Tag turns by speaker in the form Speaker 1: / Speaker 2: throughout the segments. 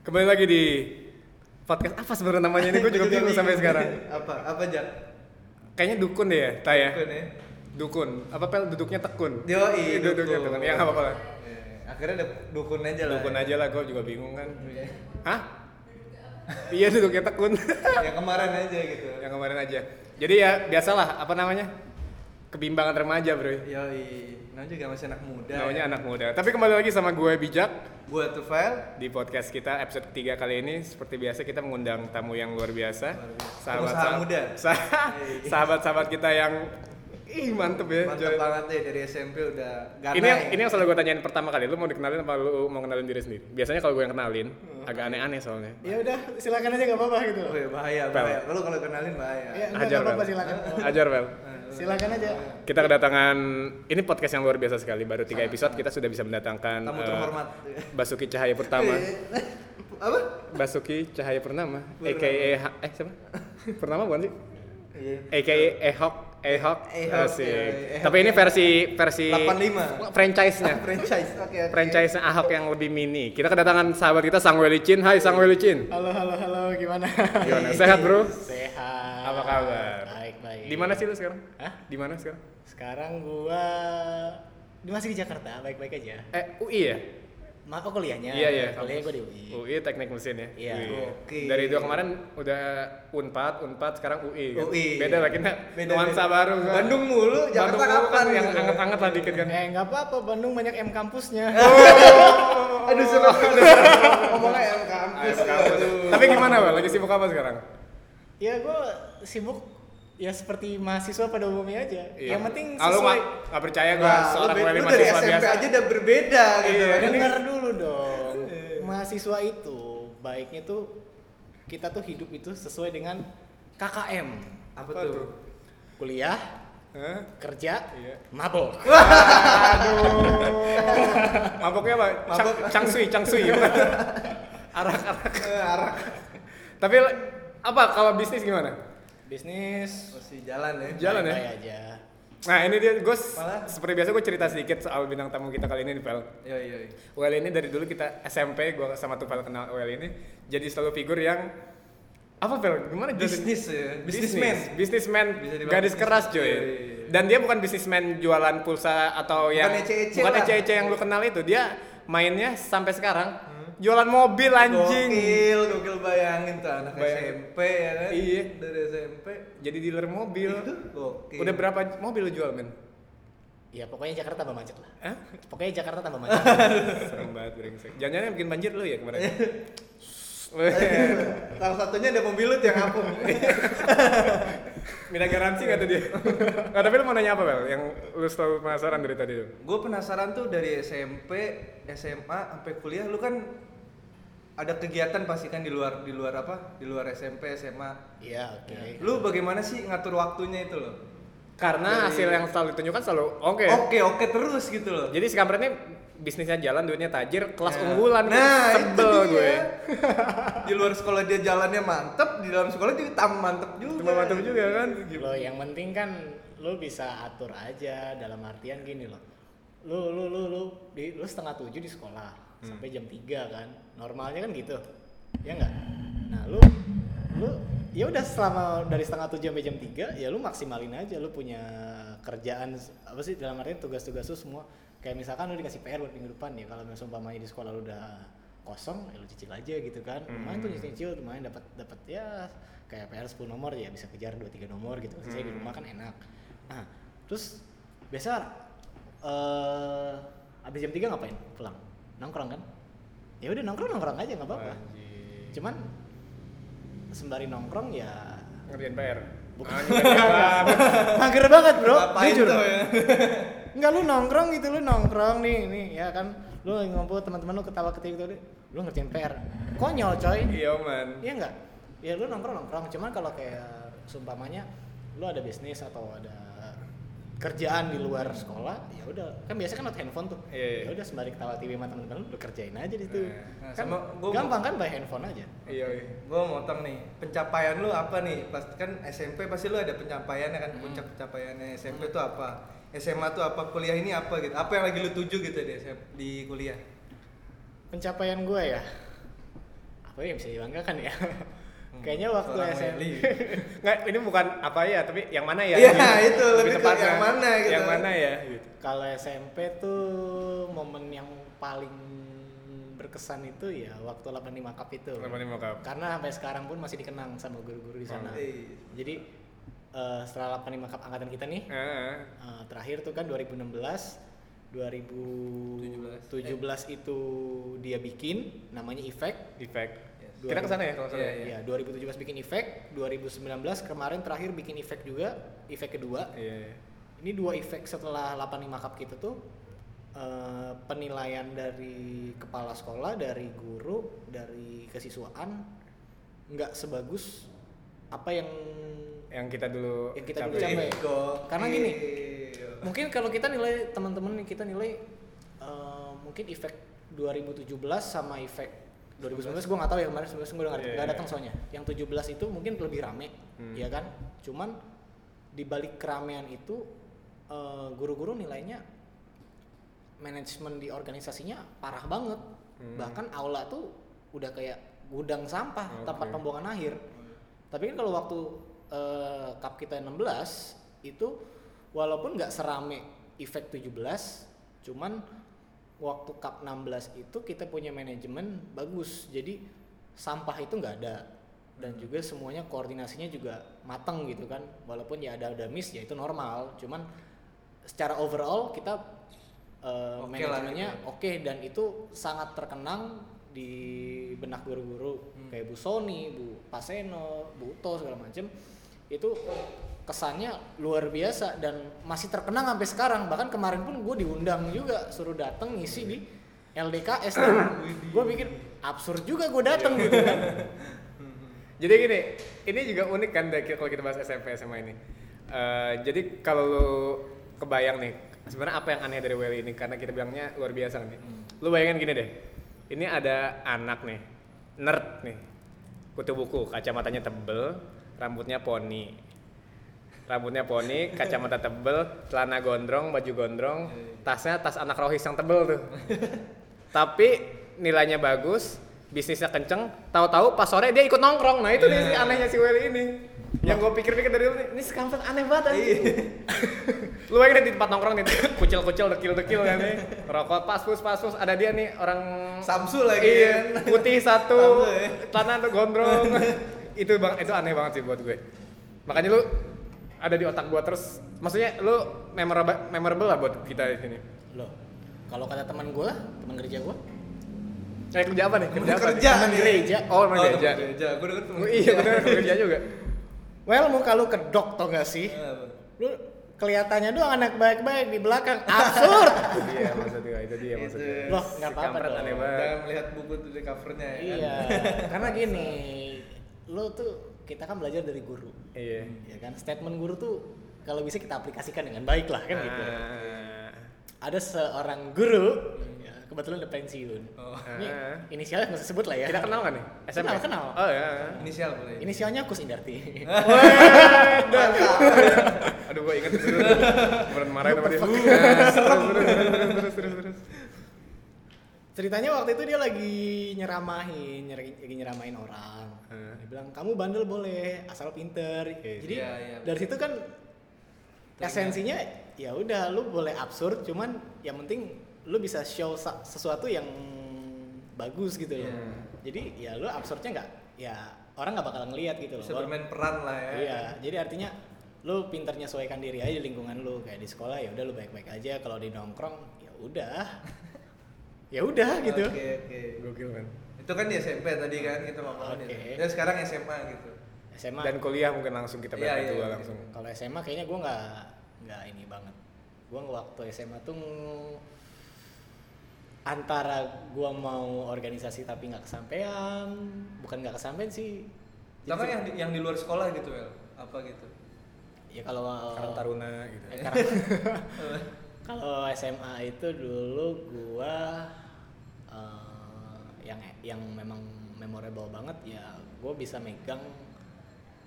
Speaker 1: Kembali lagi di podcast apa sebenarnya namanya ini gue juga
Speaker 2: Gua
Speaker 1: bingung sampai
Speaker 2: bingung.
Speaker 1: sekarang.
Speaker 2: apa apa aja
Speaker 1: Kayaknya dukun deh ya, Tay ya.
Speaker 2: Dukun ya?
Speaker 1: Dukun. Apa pel duduknya tekun.
Speaker 2: Yoi,
Speaker 1: duduknya
Speaker 2: dukun. Iya.
Speaker 1: tekun. Ya enggak apa-apa lah.
Speaker 2: Eh, akhirnya ada dukun aja lah
Speaker 1: Dukun aja lah, gue juga bingung kan.
Speaker 2: Iya.
Speaker 1: Hah? iya duduknya tekun.
Speaker 2: yang kemarin aja gitu
Speaker 1: Yang kemarin aja. Jadi ya biasalah apa namanya? Kebimbangan remaja, Bro.
Speaker 2: yoi namanya juga masih anak muda ya.
Speaker 1: Namanya anak muda. Tapi kembali lagi sama gue Bijak
Speaker 2: gua tuh file
Speaker 1: di podcast kita episode ketiga kali ini seperti biasa kita mengundang tamu yang luar biasa
Speaker 2: Luar biasa.
Speaker 1: sahabat
Speaker 2: Pengusaha muda.
Speaker 1: sahabat sahabat kita yang ih mantep ya
Speaker 2: mantap
Speaker 1: Joy.
Speaker 2: banget deh dari SMP udah ganai
Speaker 1: ini yang ini yang selalu gue tanyain pertama kali lu mau dikenalin apa lu mau kenalin diri sendiri biasanya kalau gue yang kenalin agak aneh-aneh soalnya
Speaker 3: ya udah silakan aja nggak apa-apa gitu
Speaker 2: oh, ya, bahaya bahaya lu kalau kenalin bahaya
Speaker 1: Iya.
Speaker 3: ya nggak
Speaker 1: ajar
Speaker 3: apa-apa
Speaker 1: Bel.
Speaker 3: silakan
Speaker 1: ajar Bel
Speaker 3: silakan aja
Speaker 1: kita kedatangan ini podcast yang luar biasa sekali baru tiga episode kita sudah bisa mendatangkan
Speaker 2: Tamu
Speaker 1: eh,
Speaker 2: terhormat.
Speaker 1: Basuki Cahaya Pertama
Speaker 2: apa
Speaker 1: Basuki Cahaya Purnama,
Speaker 2: Purnama.
Speaker 1: AKA Ha- eh siapa? Purnama bukan sih?
Speaker 2: Iya.
Speaker 1: AKA Ehok Ehok
Speaker 2: Ehok,
Speaker 1: asik.
Speaker 2: iya, Ehok.
Speaker 1: Tapi ini versi versi
Speaker 2: 85.
Speaker 1: franchise-nya.
Speaker 2: franchise oke oke
Speaker 1: franchise-nya Ahok yang lebih mini. Kita kedatangan sahabat kita Sang Welicin. Hai Sang Welicin.
Speaker 3: halo halo halo gimana
Speaker 1: Gimana? Sehat, Bro?
Speaker 3: sehat
Speaker 1: Apa kabar?
Speaker 3: baik baik
Speaker 1: Di mana sih lu sekarang?
Speaker 3: Hah?
Speaker 1: Di mana sekarang?
Speaker 3: sekarang gua di masih di Jakarta baik baik aja
Speaker 1: Eh UI ya?
Speaker 3: mak oh
Speaker 2: Ya,
Speaker 3: kuliahnya
Speaker 1: Iya iya.
Speaker 3: kuliahnya gua di UI
Speaker 1: UI Teknik Mesin ya.
Speaker 3: Iya.
Speaker 1: UI.
Speaker 2: Oke.
Speaker 1: Dari dua kemarin udah Unpad, Unpad sekarang UI. kan?
Speaker 2: UI.
Speaker 1: Beda lah kita.
Speaker 2: Beda,
Speaker 1: nuansa
Speaker 2: beda.
Speaker 1: baru. kan?
Speaker 2: Bandung mulu, Jakarta
Speaker 1: Bandung mulu
Speaker 2: kapan
Speaker 1: kan yang
Speaker 2: gitu?
Speaker 1: anget-anget lah dikit kan. Eh.
Speaker 3: eh nggak apa-apa Bandung banyak M kampusnya
Speaker 2: aduh seneng ngomongnya yang kampus Aduh.
Speaker 1: Tapi gimana, ya, Bang? Lagi sibuk apa sekarang?
Speaker 3: ya gua sibuk ya seperti mahasiswa pada umumnya aja yang penting
Speaker 1: Ah, lu
Speaker 3: sesuai
Speaker 1: nggak- nggak percaya gua
Speaker 2: Nah,
Speaker 1: seorang
Speaker 2: lu, be-
Speaker 1: dari
Speaker 2: lu dari
Speaker 1: mahasiswa
Speaker 2: SMP
Speaker 1: biasa.
Speaker 2: aja udah berbeda gitu
Speaker 1: Iya.
Speaker 2: kan.
Speaker 3: Dengar dulu dong. Mahasiswa itu baiknya tuh kita tuh hidup itu sesuai dengan KKM.
Speaker 2: apa
Speaker 1: Apa tuh?
Speaker 2: tuh
Speaker 3: Kuliah,
Speaker 1: Hah?
Speaker 3: kerja,
Speaker 1: Iya.
Speaker 3: mabok.
Speaker 1: Maboknya apa? Cang,
Speaker 2: Mabok.
Speaker 1: cangsui, cangsui. Arak-arak.
Speaker 2: Eh, arah
Speaker 1: Tapi apa kalau bisnis gimana?
Speaker 3: Bisnis
Speaker 2: masih jalan ya
Speaker 1: Jalan ya?
Speaker 3: baik-baik aja.
Speaker 1: Nah ini dia, gue s-
Speaker 2: Malah-
Speaker 1: seperti biasa gue cerita sedikit soal bintang tamu kita kali ini nih, Pel.
Speaker 2: Yo yo. yo.
Speaker 1: Well ini dari dulu kita SMP, gue sama Tufel kenal Well ini Jadi selalu figur yang Apa Pel? Gimana? jelasin?
Speaker 2: Bisnis ya. Bisnisman.
Speaker 1: Businessman,
Speaker 2: Bisa dibilang
Speaker 1: gadis
Speaker 2: bisnis.
Speaker 1: keras coy.
Speaker 2: Iya, iya, iya.
Speaker 1: Dan dia bukan businessman jualan pulsa atau
Speaker 2: Bukan
Speaker 1: yang
Speaker 2: ECEC
Speaker 1: bukan
Speaker 2: lah.
Speaker 1: ECEC yang lu kenal itu. Dia mainnya sampai sekarang jualan mobil anjing.
Speaker 2: Hmm. Gokil, gokil bayangin tuh anak
Speaker 1: Bayangin.
Speaker 2: SMP ya kan.
Speaker 1: Iya.
Speaker 2: Dari SMP.
Speaker 1: Jadi dealer mobil.
Speaker 2: Itu gokil.
Speaker 1: Udah berapa mobil lu jual, men?
Speaker 3: Ya pokoknya Jakarta tambah macet lah.
Speaker 1: Hah?
Speaker 3: Pokoknya Jakarta tambah macet.
Speaker 1: Serem banget brengsek. Jangan-jangan yang bikin banjir lu ya kemarin.
Speaker 2: Salah satunya ada mobil lu tuh yang apung.
Speaker 1: Minta garansi nggak tuh dia? Nah, tapi lu mau nanya apa, Bel? Yang lu selalu penasaran dari tadi tuh.
Speaker 2: Gue penasaran tuh dari SMP, SMA sampai kuliah lu kan ada kegiatan pasti kan di luar di luar apa? Di luar SMP, SMA.
Speaker 3: Iya, oke.
Speaker 2: Lu bagaimana sih ngatur waktunya itu loh?
Speaker 1: Karena
Speaker 2: Dari-
Speaker 1: hasil yang selalu ditunjukkan selalu oke.
Speaker 2: Oke, oke terus gitu loh.
Speaker 1: Jadi si kampret ini bisnisnya jalan, duitnya tajir, kelas
Speaker 2: Nah.
Speaker 1: unggulan. kan.
Speaker 2: Nah, itu
Speaker 1: sebel
Speaker 2: dia.
Speaker 1: gue.
Speaker 2: di luar sekolah dia jalannya mantep, di dalam sekolah dia tam mantep juga.
Speaker 1: Cuma mantep juga kan.
Speaker 3: Lo yang penting kan lo bisa atur aja dalam artian gini loh. Lu lu lu lu di lu setengah tujuh di sekolah sampai jam 3 kan. Normalnya kan gitu. Ya enggak? Nah, lu lu ya udah selama dari setengah tujuh sampai jam 3 ya lu maksimalin aja lu punya kerjaan s- apa sih dalam artian tugas-tugas lu semua kayak misalkan lu dikasih PR buat minggu depan ya kalau misalnya umpamanya di sekolah lu udah kosong ya lu cicil aja gitu kan
Speaker 2: Hmm.
Speaker 3: lumayan tuh cicil lumayan dapat dapat ya kayak PR 10 nomor ya bisa kejar 2 3 nomor gitu saya di rumah kan
Speaker 2: Hmm.
Speaker 3: enak nah terus biasa eh abis jam 3 ngapain pulang nongkrong kan ya udah nongkrong nongkrong aja nggak apa-apa cuman sembari nongkrong ya
Speaker 1: Ngerjain PR.
Speaker 3: Bukan.
Speaker 1: Ah, ngerjain banget.
Speaker 3: mager banget bro
Speaker 2: ya, Ngapain
Speaker 3: jujur
Speaker 2: tuh ya?
Speaker 3: Enggak lu nongkrong gitu lu nongkrong nih nih ya kan lu lagi ngumpul teman-teman lu ketawa ketiwi gitu deh lu ngerjain PR konyol coy
Speaker 1: Iya man.
Speaker 3: Iya enggak? Ya lu nongkrong-nongkrong, cuman kalau kayak seumpamanya lu ada bisnis atau ada kerjaan di luar sekola, ya udah. Kan biasa kan not handphone tuh.
Speaker 1: Iya, iya.
Speaker 3: Ya udah sembari ketawa TV sama teman-teman lu, lu kerjain aja di situ.
Speaker 1: Nah,
Speaker 3: kan
Speaker 2: sama gua-
Speaker 3: gampang kan by handphone aja.
Speaker 1: Iya. iya.
Speaker 2: Gue motong nih, pencapaian lu apa nih? Pas kan SMP pasti lu ada pencapaiannya kan, puncak pencapaiannya SMP tuh apa? SMA tuh apa? Kuliah ini apa gitu? Apa yang lagi lu tuju gitu di SMP, di kuliah?
Speaker 3: Pencapaian gue ya. apa yang bisa dibanggakan ya
Speaker 1: Hmm.
Speaker 3: kayaknya waktu
Speaker 2: seorang
Speaker 3: SMP
Speaker 2: Welly.
Speaker 1: Nggak, ini bukan apa ya, tapi yang mana ya?
Speaker 2: Iya,
Speaker 1: gitu.
Speaker 2: itu, lebih ke
Speaker 1: tepatnya.
Speaker 2: yang mana gitu.
Speaker 1: Yang mana ya? Gitu.
Speaker 3: kalau SMP tuh momen yang paling berkesan itu ya waktu 85 cup itu
Speaker 1: Teman-teman mau ke-
Speaker 3: karena sampai sekarang pun masih dikenang sama guru-guru di sana
Speaker 2: Eh,
Speaker 3: jadi eh, setelah 85 cup angkatan kita nih
Speaker 1: Heeh.
Speaker 3: eh, terakhir tuh kan 2016 2017 itu dia bikin namanya Effect
Speaker 1: Effect.
Speaker 2: Yes.
Speaker 1: Kita kesana ya kalau
Speaker 2: Iya,
Speaker 1: kesana.
Speaker 2: iya.
Speaker 3: Ya, 2017 bikin efek, 2019 kemarin terakhir bikin efek juga, efek kedua.
Speaker 1: Iya.
Speaker 3: Ini dua efek setelah 85 cup kita tuh eh, penilaian dari kepala sekolah, dari guru, dari kesiswaan nggak sebagus apa yang
Speaker 1: Yang kita dulu
Speaker 3: Yang kita dulu
Speaker 2: Iya.
Speaker 1: capai.
Speaker 3: capai.
Speaker 2: Ego.
Speaker 3: Karena gini.
Speaker 2: Iya.
Speaker 3: mungkin kalau kita nilai teman-teman kita nilai eh, mungkin efek 2017 sama efek 2019 gue nggak tahu ya kemarin 2019 gue udah nggak
Speaker 1: Iya,
Speaker 3: nggak
Speaker 1: iya.
Speaker 3: datang soalnya yang 17 itu mungkin lebih rame
Speaker 1: Hmm.
Speaker 3: ya kan cuman di balik keramaian itu eh, guru-guru nilainya manajemen di organisasinya parah banget
Speaker 1: Hmm.
Speaker 3: bahkan aula tuh udah kayak gudang sampah
Speaker 1: Oke.
Speaker 3: Nah, tempat pembuangan akhir tapi kan kalau waktu eh, cup kita 16 itu walaupun nggak serame efek 17, cuman waktu cup 16 itu kita punya manajemen bagus. Jadi sampah itu nggak ada dan juga semuanya koordinasinya juga matang gitu kan. Walaupun ya ada ada miss ya itu normal, cuman secara overall kita eh,
Speaker 2: Oke lah
Speaker 3: manajemennya
Speaker 2: gitu ya.
Speaker 3: oke dan itu sangat terkenang di benak guru-guru
Speaker 2: Hmm.
Speaker 3: kayak Bu Sony, Bu Paseno, Bu Uto segala macem itu kesannya luar biasa dan masih terkenang sampai sekarang bahkan kemarin pun gue diundang juga suruh dateng ngisi di LDKS gue pikir absurd juga gue dateng gitu kan
Speaker 1: Jadi gini, ini juga unik kan dari- kalau kita bahas SMP SMA ini. Eh, jadi kalau lu kebayang nih, sebenarnya apa yang aneh dari Welly ini karena kita bilangnya luar biasa nih. Lu bayangin gini deh. Ini ada anak nih, nerd nih. Kutu buku, kacamatanya tebel, rambutnya poni. Rambutnya poni, kacamata tebel, celana gondrong, baju gondrong, tasnya tas anak rohis yang tebel tuh. Tapi nilainya bagus, bisnisnya kenceng, tahu-tahu pas sore dia ikut nongkrong. Nah, itu nih
Speaker 2: Iya.
Speaker 1: si anehnya si Welly ini. Yang gue pikir-pikir dari dulu, nih, ini sekampret aneh banget anjing.
Speaker 2: Iya.
Speaker 1: Lu bayangin deh di tempat nongkrong nih, kucil-kucil, dekil-dekil kan nih. Rokok paspus-paspus, ada dia nih orang
Speaker 2: Samsul lagi
Speaker 1: Iya,
Speaker 2: kan.
Speaker 1: putih satu,
Speaker 2: Samsul ya.
Speaker 1: celana tuh gondrong. itu bang, itu aneh banget sih buat gue. Makanya lu ada di otak gue terus, maksudnya lu memorable, memorable lah buat kita di sini.
Speaker 3: loh kalau kata teman gue teman kerja gue
Speaker 1: Eh kerja apa nih? Kerja apa? nih?
Speaker 2: kerja
Speaker 3: Teman
Speaker 2: nih.
Speaker 3: gereja.
Speaker 1: Oh, teman
Speaker 2: Oh, teman
Speaker 1: gereja.
Speaker 2: gereja. Gue denger teman
Speaker 1: Oh, iya benar teman kerja juga.
Speaker 3: well muka lu kedok tau gak sih
Speaker 2: Iya, bener.
Speaker 3: lu kelihatannya doang anak baik-baik di belakang absurd
Speaker 1: Itu dia maksudnya, itu dia
Speaker 2: Itu.
Speaker 1: maksudnya.
Speaker 3: loh nggak
Speaker 1: Si
Speaker 3: apa-apa
Speaker 1: kampret
Speaker 3: dong
Speaker 1: aneh banget.
Speaker 2: Jangan melihat buku tuh di covernya ya kan?
Speaker 3: Iya, karena gini, lo tuh kita kan belajar dari guru,
Speaker 1: Iya.
Speaker 3: ya kan? Statement guru tuh kalau bisa kita aplikasikan dengan baik lah kan gitu.
Speaker 1: Ah.
Speaker 3: Ada seorang guru, ya, kebetulan udah pensiun.
Speaker 2: Oh.
Speaker 3: Ini
Speaker 1: Hmm. Ah.
Speaker 3: inisialnya nggak usah sebut lah ya.
Speaker 1: Kita kenal nggak nih? SMP?
Speaker 3: Kenal, kenal.
Speaker 1: Oh iya.
Speaker 2: Inisial boleh.
Speaker 3: Inisialnya Kus Indarti.
Speaker 1: Aduh gua inget dulu. Kemarin marah sama dia. Nah, Terus terus terus terus terus terus.
Speaker 3: Ceritanya waktu itu dia lagi nyeramahin, nyer- lagi nyeramahin orang.
Speaker 1: Hmm.
Speaker 3: Dia bilang kamu bandel boleh, asal pinter. Jadi
Speaker 2: Iya, iya.
Speaker 3: dari situ kan esensinya ya udah lu boleh absurd, cuman yang penting lu bisa show sa- sesuatu yang bagus gitu loh.
Speaker 2: Iya.
Speaker 3: Jadi ya lu absurdnya nggak, ya orang nggak bakal ngelihat gitu loh.
Speaker 2: Bisa
Speaker 3: Walaupun-
Speaker 2: bermain peran lah ya.
Speaker 3: Iya, jadi artinya lu pinternya sesuaikan diri aja di lingkungan lu kayak di sekolah ya udah lu baik-baik aja kalau di nongkrong ya udah ya udah gitu
Speaker 2: Oke, oke.
Speaker 1: Gokil kan.
Speaker 2: Itu kan di SMP tadi kan
Speaker 1: Ah,
Speaker 2: kita ngomongin.
Speaker 3: Oke.
Speaker 2: Ya sekarang SMA gitu.
Speaker 3: SMA
Speaker 1: Dan kuliah mungkin langsung kita
Speaker 2: Iya,
Speaker 1: bahas
Speaker 2: iya,
Speaker 1: itu
Speaker 2: iya.
Speaker 1: langsung.
Speaker 3: kalau SMA kayaknya gua nggak nggak ini banget gua waktu SMA tuh ng- antara gua mau organisasi tapi nggak kesampaian bukan nggak kesampaian sih Jadi
Speaker 2: Sama
Speaker 3: tuh-
Speaker 2: yang di, yang di luar sekolah gitu, El. Apa gitu?
Speaker 3: ya kalau
Speaker 2: Oh.
Speaker 1: Karang Taruna gitu.
Speaker 3: Eh, Karang- Kalau SMA itu dulu gua eh, yang yang memang memorable banget ya gua bisa megang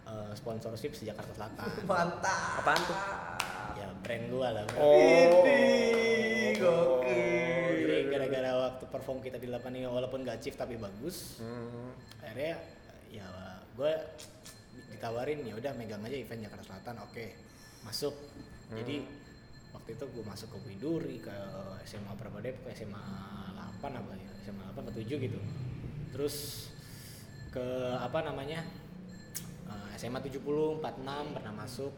Speaker 3: eh, sponsorship sejak Jakarta Selatan.
Speaker 2: Mantap. Apaan tuh?
Speaker 3: ya brand gua lah.
Speaker 1: Oh.
Speaker 2: Ini gokil.
Speaker 3: Jadi tapi gara-gara waktu perform kita di lapangan ini walaupun gak chief tapi bagus
Speaker 1: Hmm.
Speaker 3: akhirnya ya gue ditawarin ya udah megang aja event Jakarta Selatan oke masuk jadi waktu itu gue masuk ke Widuri ke SMA berapa deh ke SMA 8 apa ya SMA 8 atau 7 gitu terus ke apa namanya eh, SMA 70 46 pernah masuk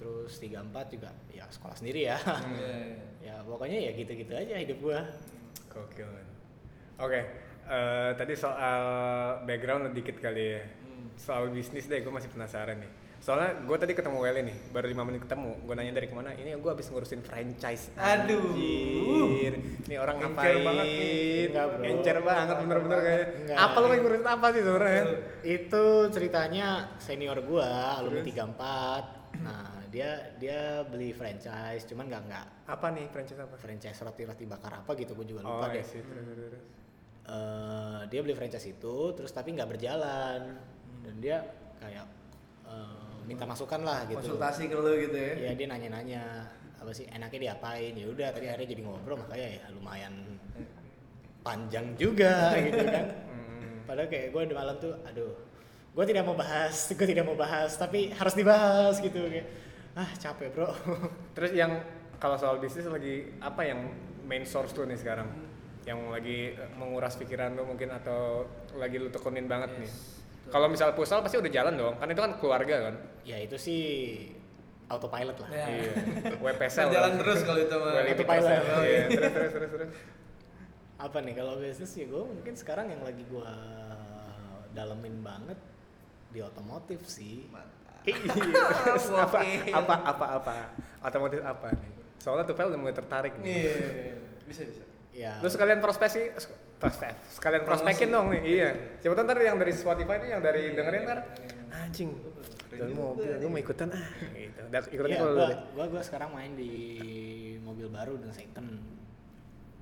Speaker 3: terus 34 juga ya sekolah sendiri ya
Speaker 2: Hmm.
Speaker 1: Hmm.
Speaker 2: Iya,
Speaker 3: ya pokoknya ya gitu-gitu aja hidup gue
Speaker 1: Gokil. man. Oke, eh, tadi soal background dikit kali ya.
Speaker 2: Hmm.
Speaker 1: Soal bisnis deh, gue masih penasaran nih. Soalnya gue tadi ketemu Welly nih, baru 5 menit ketemu. Gue nanya dari kemana, ini gue habis ngurusin franchise.
Speaker 2: Aduh.
Speaker 1: Anjir. Ini orang
Speaker 2: Encer
Speaker 1: ngapain?
Speaker 2: banget nih.
Speaker 3: Enggak, bro.
Speaker 1: Encer banget, bener-bener kayaknya.
Speaker 3: Enggak.
Speaker 1: Apa lo yang ngurusin apa sih sebenarnya?
Speaker 3: itu ceritanya senior gua alumni 34 nah dia dia beli franchise cuman nggak nggak
Speaker 1: Apa nih franchise apa?
Speaker 3: franchise roti roti bakar apa gitu gua juga lupa
Speaker 1: oh,
Speaker 3: deh
Speaker 1: iya sih. Terus, terus, terus.
Speaker 3: Eh, dia beli franchise itu terus tapi nggak berjalan dan dia kayak eh, minta masukan lah gitu
Speaker 2: konsultasi ke lu gitu ya
Speaker 1: Iya,
Speaker 3: ya dia nanya-nanya apa sih enaknya diapain ya udah tadi akhirnya jadi ngobrol makanya ya lumayan panjang juga gitu kan padahal kayak gue di malam tuh aduh gue tidak mau bahas gue tidak mau bahas tapi harus dibahas gitu kayak ah capek bro
Speaker 1: Terus yang kalau soal bisnis lagi apa yang main source tuh nih sekarang? Yang lagi eh, menguras pikiran lu mungkin atau lagi lu tekunin banget nih. Kalau misal pusal pasti udah jalan dong, kan itu kan keluarga kan.
Speaker 3: ya itu sih autopilot lah
Speaker 2: Ya. Kan
Speaker 1: Iya. WPSL.
Speaker 2: Jalan terus kalau itu mah.
Speaker 1: Welly
Speaker 3: Atau
Speaker 1: Peterson.
Speaker 3: pilot.
Speaker 1: Iya, terus terus terus terus.
Speaker 3: apa nih kalau bisnis ya gue mungkin sekarang yang lagi gue dalemin banget di otomotif sih
Speaker 1: Iya. Terus apa
Speaker 2: Gokil.
Speaker 1: apa apa apa otomotif apa nih? Soalnya tuh Pel udah mulai tertarik nih.
Speaker 2: Iya, bisa bisa.
Speaker 3: ya
Speaker 1: Lu sekalian prospek sih, prospek, sekalian prospekin dong nih, iya. Siapa tahu ntar yang dari Spotify nih, yang dari dengerin ntar, anjing, dalam mobil, gue mau ikutan ah, gitu. Dan ikutannya
Speaker 3: Iya,
Speaker 1: kalau lu
Speaker 3: gua,
Speaker 1: deh.
Speaker 3: gua, gua sekarang main di mobil baru dan second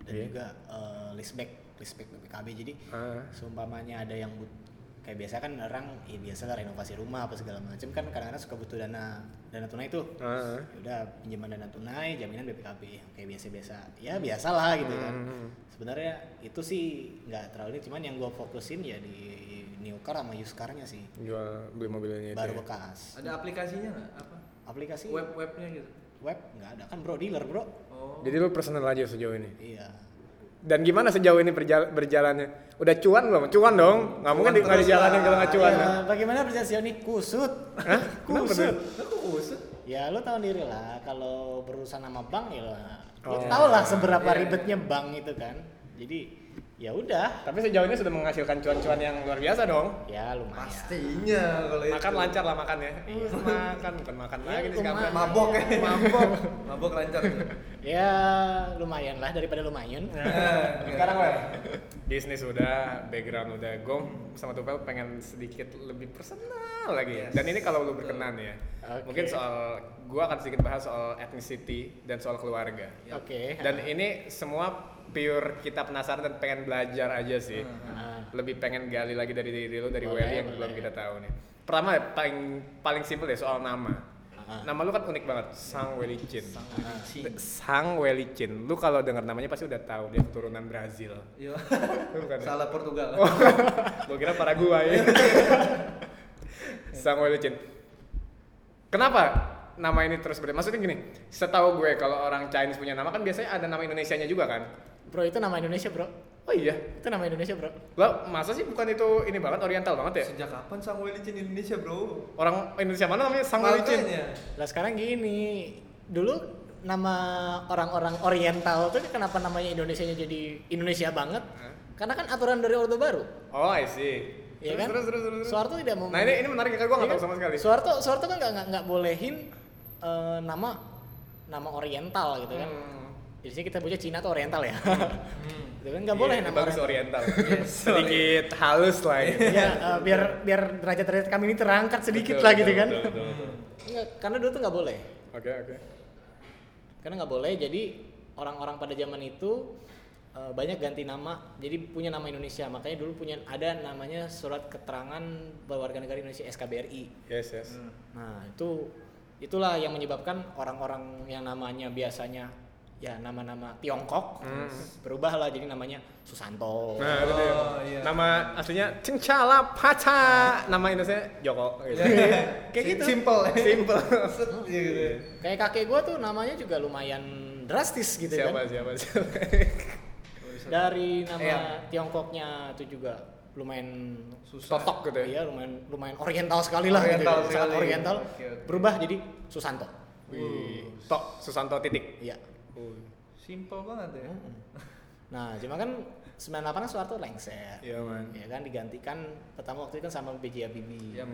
Speaker 3: dan
Speaker 1: Iya.
Speaker 3: juga eh, leaseback leaseback BPKB jadi
Speaker 1: Ah.
Speaker 3: seumpamanya ada yang but- kayak biasa kan orang ya biasa lah renovasi rumah apa segala macam kan kadang-kadang suka butuh dana dana tunai tuh
Speaker 1: Ah.
Speaker 3: Ya udah pinjaman dana tunai jaminan BPKB kayak biasa-biasa ya biasalah gitu kan
Speaker 1: Hmm.
Speaker 3: sebenarnya itu sih nggak terlalu ini cuman yang gua fokusin ya di new car sama used car-nya sih
Speaker 1: Jual beli mobilnya itu.
Speaker 3: baru
Speaker 1: ya.
Speaker 3: bekas
Speaker 2: Ada aplikasinya nggak? Apa?
Speaker 3: aplikasi web
Speaker 2: Web webnya gitu.
Speaker 3: web nggak ada kan bro dealer bro
Speaker 2: Oh.
Speaker 1: Jadi lu personal aja sejauh ini.
Speaker 3: Iya.
Speaker 1: Dan gimana sejauh ini berjal- berjalannya? Udah cuan belum? Cuan dong. Nggak mungkin di- nggak
Speaker 2: terus
Speaker 1: dijalanin
Speaker 2: lah.
Speaker 1: kalau nggak cuan.
Speaker 3: Ya,
Speaker 1: kan?
Speaker 3: bagaimana perjanjian ini kusut?
Speaker 1: Hah? Kenapa tuh?
Speaker 3: kusut.
Speaker 2: Lu kok usut?
Speaker 3: Ya lo tahu sendiri lah kalau berurusan sama bank ya lo
Speaker 1: Oh.
Speaker 3: lo tau lah seberapa
Speaker 2: Iya, iya.
Speaker 3: ribetnya bank itu kan. Jadi ya udah,
Speaker 1: Tapi sejauh ini sudah menghasilkan cuan-cuan yang luar biasa dong.
Speaker 3: ya lumayan.
Speaker 2: Pastinya kalau itu.
Speaker 1: Makan lancar lah makan ya. makan bukan makan
Speaker 3: Iya,
Speaker 1: lagi nih
Speaker 3: lumayan.
Speaker 1: sekarang.
Speaker 2: Mabok ya. Mabok. Mabok lancar tuh.
Speaker 3: Ya lumayan lah daripada lumayan.
Speaker 1: Iya. sekarang
Speaker 2: Nah,
Speaker 1: lah bisnis udah background udah gue sama Tupel pengen sedikit lebih personal lagi ya.
Speaker 2: Yes.
Speaker 1: dan ini kalau lu berkenan ya
Speaker 3: Oke.
Speaker 1: mungkin soal gue akan sedikit bahas soal ethnicity dan soal keluarga
Speaker 3: Oke.
Speaker 1: dan ini semua pure kita penasaran dan pengen belajar aja sih
Speaker 3: Ah.
Speaker 1: lebih pengen gali lagi dari diri lu dari
Speaker 3: Boleh,
Speaker 1: Welly yang belum
Speaker 3: boleh.
Speaker 1: kita tahu nih pertama ya, paling paling simpel ya soal nama
Speaker 3: Ah.
Speaker 1: nama lu kan unik banget Sang Welly Chin
Speaker 2: iya.
Speaker 3: Ah.
Speaker 1: Sang Welicin, lu kalau dengar namanya pasti udah tahu dia keturunan Brazil.
Speaker 2: Yo.
Speaker 1: Lu bukan ya?
Speaker 2: Iya. Salah Portugal.
Speaker 1: Gua ya. kira Paraguay. Sang Welicin. Kenapa nama ini terus berbeda? Maksudnya gini, setahu gue kalau orang Chinese punya nama kan biasanya ada nama Indonesianya juga kan?
Speaker 3: Bro itu nama Indonesia bro.
Speaker 1: Oh iya.
Speaker 3: Itu nama Indonesia bro.
Speaker 1: Lo masa sih bukan itu ini banget Oriental banget ya?
Speaker 2: Sejak kapan Samuel Licin Indonesia, Bro?
Speaker 1: Orang Indonesia mana namanya Sang Welicin?
Speaker 3: ya?
Speaker 2: Makanya.
Speaker 3: Lah sekarang gini, dulu nama orang-orang Oriental tuh kenapa namanya Indonesia jadi Indonesia banget? Karena kan aturan dari Orde Baru,
Speaker 1: Oh, I see.
Speaker 3: ya
Speaker 1: Terus,
Speaker 3: kan?
Speaker 1: terus, terus, terus, terus.
Speaker 3: Soeharto tidak mau.
Speaker 1: Nah ini ini menarik ya, gue nggak
Speaker 3: Iya
Speaker 1: tahu sama sekali.
Speaker 3: Soeharto Soeharto kan nggak nggak- nggak bolehin eh, nama nama Oriental gitu kan?
Speaker 1: Hmm.
Speaker 3: Jadi sih kita punya Cina atau Oriental ya? Gitu kan nggak
Speaker 1: Iya,
Speaker 3: boleh
Speaker 1: ini
Speaker 3: nama Iya,
Speaker 1: bagus
Speaker 3: Oriental.
Speaker 1: oriental. Sedikit halus lah ya.
Speaker 3: ya eh, biar biar derajat-derajat kami ini terangkat sedikit
Speaker 1: Betul,
Speaker 3: lah gitu
Speaker 1: betul,
Speaker 3: kan?
Speaker 1: betul, betul, betul.
Speaker 3: Nggak, karena dulu tuh nggak boleh.
Speaker 1: Oke oke.
Speaker 3: karena nggak boleh jadi orang-orang pada zaman itu eh, banyak ganti nama jadi punya nama Indonesia makanya dulu punya ada namanya surat keterangan berwarga negara Indonesia SKBRI
Speaker 1: Yes yes.
Speaker 3: nah itu itulah yang menyebabkan orang-orang yang namanya biasanya ya nama-nama Tiongkok berubah lah jadi namanya Susanto
Speaker 1: Hmm. Nah, itu dia.
Speaker 2: Oh, iya.
Speaker 1: Nama aslinya Cengcala Paca. Nama Indonesia Joko gitu.
Speaker 2: kan?
Speaker 3: Kayak gitu.
Speaker 2: Iya. Simple.
Speaker 1: Simple. Iya
Speaker 2: Set, gitu.
Speaker 3: kayak kakek gue tuh namanya juga lumayan drastis gitu
Speaker 1: siapa,
Speaker 3: kan
Speaker 1: siapa siapa
Speaker 2: Oh,
Speaker 3: dari nama
Speaker 2: Iya.
Speaker 3: Tiongkoknya itu juga lumayan
Speaker 2: Susah.
Speaker 3: totok gitu ya iya, lumayan lumayan oriental sekali lah gitu
Speaker 2: Oriental
Speaker 3: ya. sangat
Speaker 2: sekali.
Speaker 3: oriental
Speaker 2: Oke, oke.
Speaker 3: berubah jadi Susanto
Speaker 1: Wih, Tok Susanto titik.
Speaker 3: iya
Speaker 2: Simple banget ya.
Speaker 1: Hmm.
Speaker 3: nah cuma kan 98 kan Soeharto lengser
Speaker 1: Iya, man.
Speaker 3: ya kan digantikan pertama waktu itu kan sama B.J. Habibie
Speaker 2: Iya.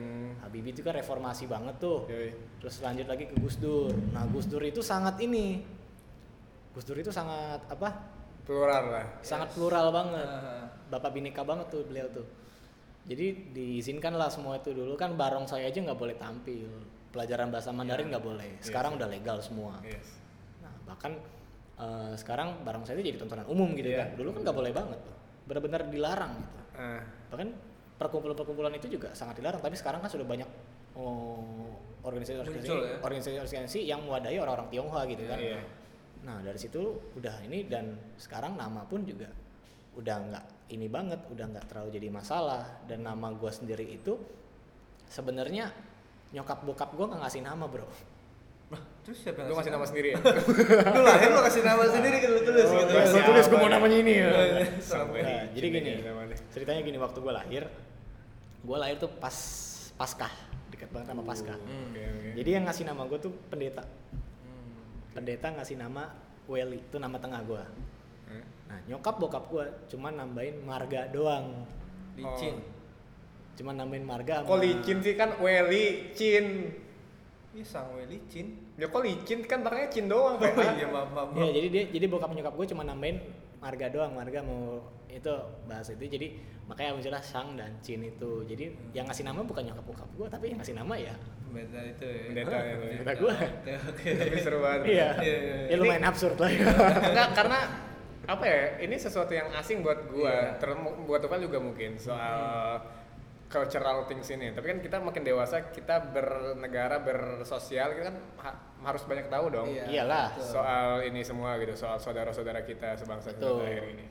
Speaker 3: Habibie itu kan reformasi banget tuh
Speaker 1: Yoi.
Speaker 3: terus lanjut lagi ke Gus Dur nah Gus Dur itu sangat ini Gus Dur itu sangat apa
Speaker 1: Plural lah.
Speaker 3: sangat plural banget
Speaker 2: Aha.
Speaker 3: bapak bineka banget tuh beliau tuh jadi diizinkan lah semua itu dulu kan barong saya aja nggak boleh tampil pelajaran bahasa Mandarin nggak boleh sekarang udah legal semua
Speaker 2: Iya.
Speaker 1: Yes.
Speaker 3: nah bahkan eh, sekarang barong saya itu jadi tontonan umum gitu
Speaker 1: Iya.
Speaker 3: kan dulu kan nggak boleh banget tuh benar-benar dilarang gitu
Speaker 1: Ah,
Speaker 3: bahkan perkumpulan-perkumpulan itu juga sangat dilarang tapi sekarang kan sudah banyak oh, organisasi-organisasi
Speaker 2: Muncul ya.
Speaker 3: organisasi-organisasi yang mewadahi orang-orang Tionghoa gitu kan
Speaker 1: Iya.
Speaker 3: nah dari situ udah ini dan sekarang nama pun juga udah nggak ini banget udah nggak terlalu jadi masalah dan nama gua sendiri itu sebenarnya nyokap bokap gua nggak ngasih nama bro
Speaker 2: Nah, terus siapa
Speaker 1: lu kasih nama sendiri ya? Oh,
Speaker 2: Lu lahir lu kasih nama sendiri gitu lu tulis gitu.
Speaker 1: iya, Gua
Speaker 3: Gua
Speaker 1: tulis, gua mau
Speaker 3: namanya ini ya
Speaker 1: Sampai
Speaker 3: Nah, jadi
Speaker 1: Cina
Speaker 3: gini,
Speaker 1: ya namanya.
Speaker 3: ceritanya gini waktu gue lahir, gue lahir tuh pas Paskah, dekat banget sama Paskah.
Speaker 1: Hmm, Oke, Oh, oke.
Speaker 3: Jadi yang ngasih nama gue tuh pendeta. Pendeta ngasih nama Weli, itu nama tengah gue.
Speaker 1: Hmm.
Speaker 3: Nah nyokap bokap gue cuma nambahin marga doang,
Speaker 2: Licin.
Speaker 1: Oh.
Speaker 3: cuma nambahin marga.
Speaker 1: Kok licin sih kan Weli Cin.
Speaker 2: Ih, sangwe Iya, licin.
Speaker 1: Ya kok licin kan makanya Cin doang
Speaker 2: Oh
Speaker 1: kayak.
Speaker 2: iya, maaf, maaf.
Speaker 3: Ya
Speaker 2: maaf.
Speaker 3: jadi dia, jadi bokap nyokap gue cuma nambahin marga doang, marga mau itu bahasa itu jadi makanya muncullah Sang dan Cin itu. Jadi yang ngasih nama bukan nyokap bokap gue, tapi yang ngasih nama ya
Speaker 2: Beda itu ya.
Speaker 1: Pendeta ya,
Speaker 2: Pendeta.
Speaker 3: pendeta gua.
Speaker 2: Oke, Oke.
Speaker 1: Tapi seru banget.
Speaker 3: Iya.
Speaker 2: Iya, iya, iya.
Speaker 3: Ya lumayan absurd lah. ya.
Speaker 1: Enggak, karena apa ya? Ini sesuatu yang asing buat gua,
Speaker 2: Iya.
Speaker 1: termu- buat Tufel juga mungkin soal cultural things ini. Tapi kan kita makin dewasa, kita bernegara, bersosial, kita kan ha- harus banyak tahu dong
Speaker 2: Iya,
Speaker 3: Iyalah.
Speaker 2: betul.
Speaker 1: soal ini semua gitu, soal saudara-saudara kita sebangsa sebangsa
Speaker 3: Betul.
Speaker 1: air ini.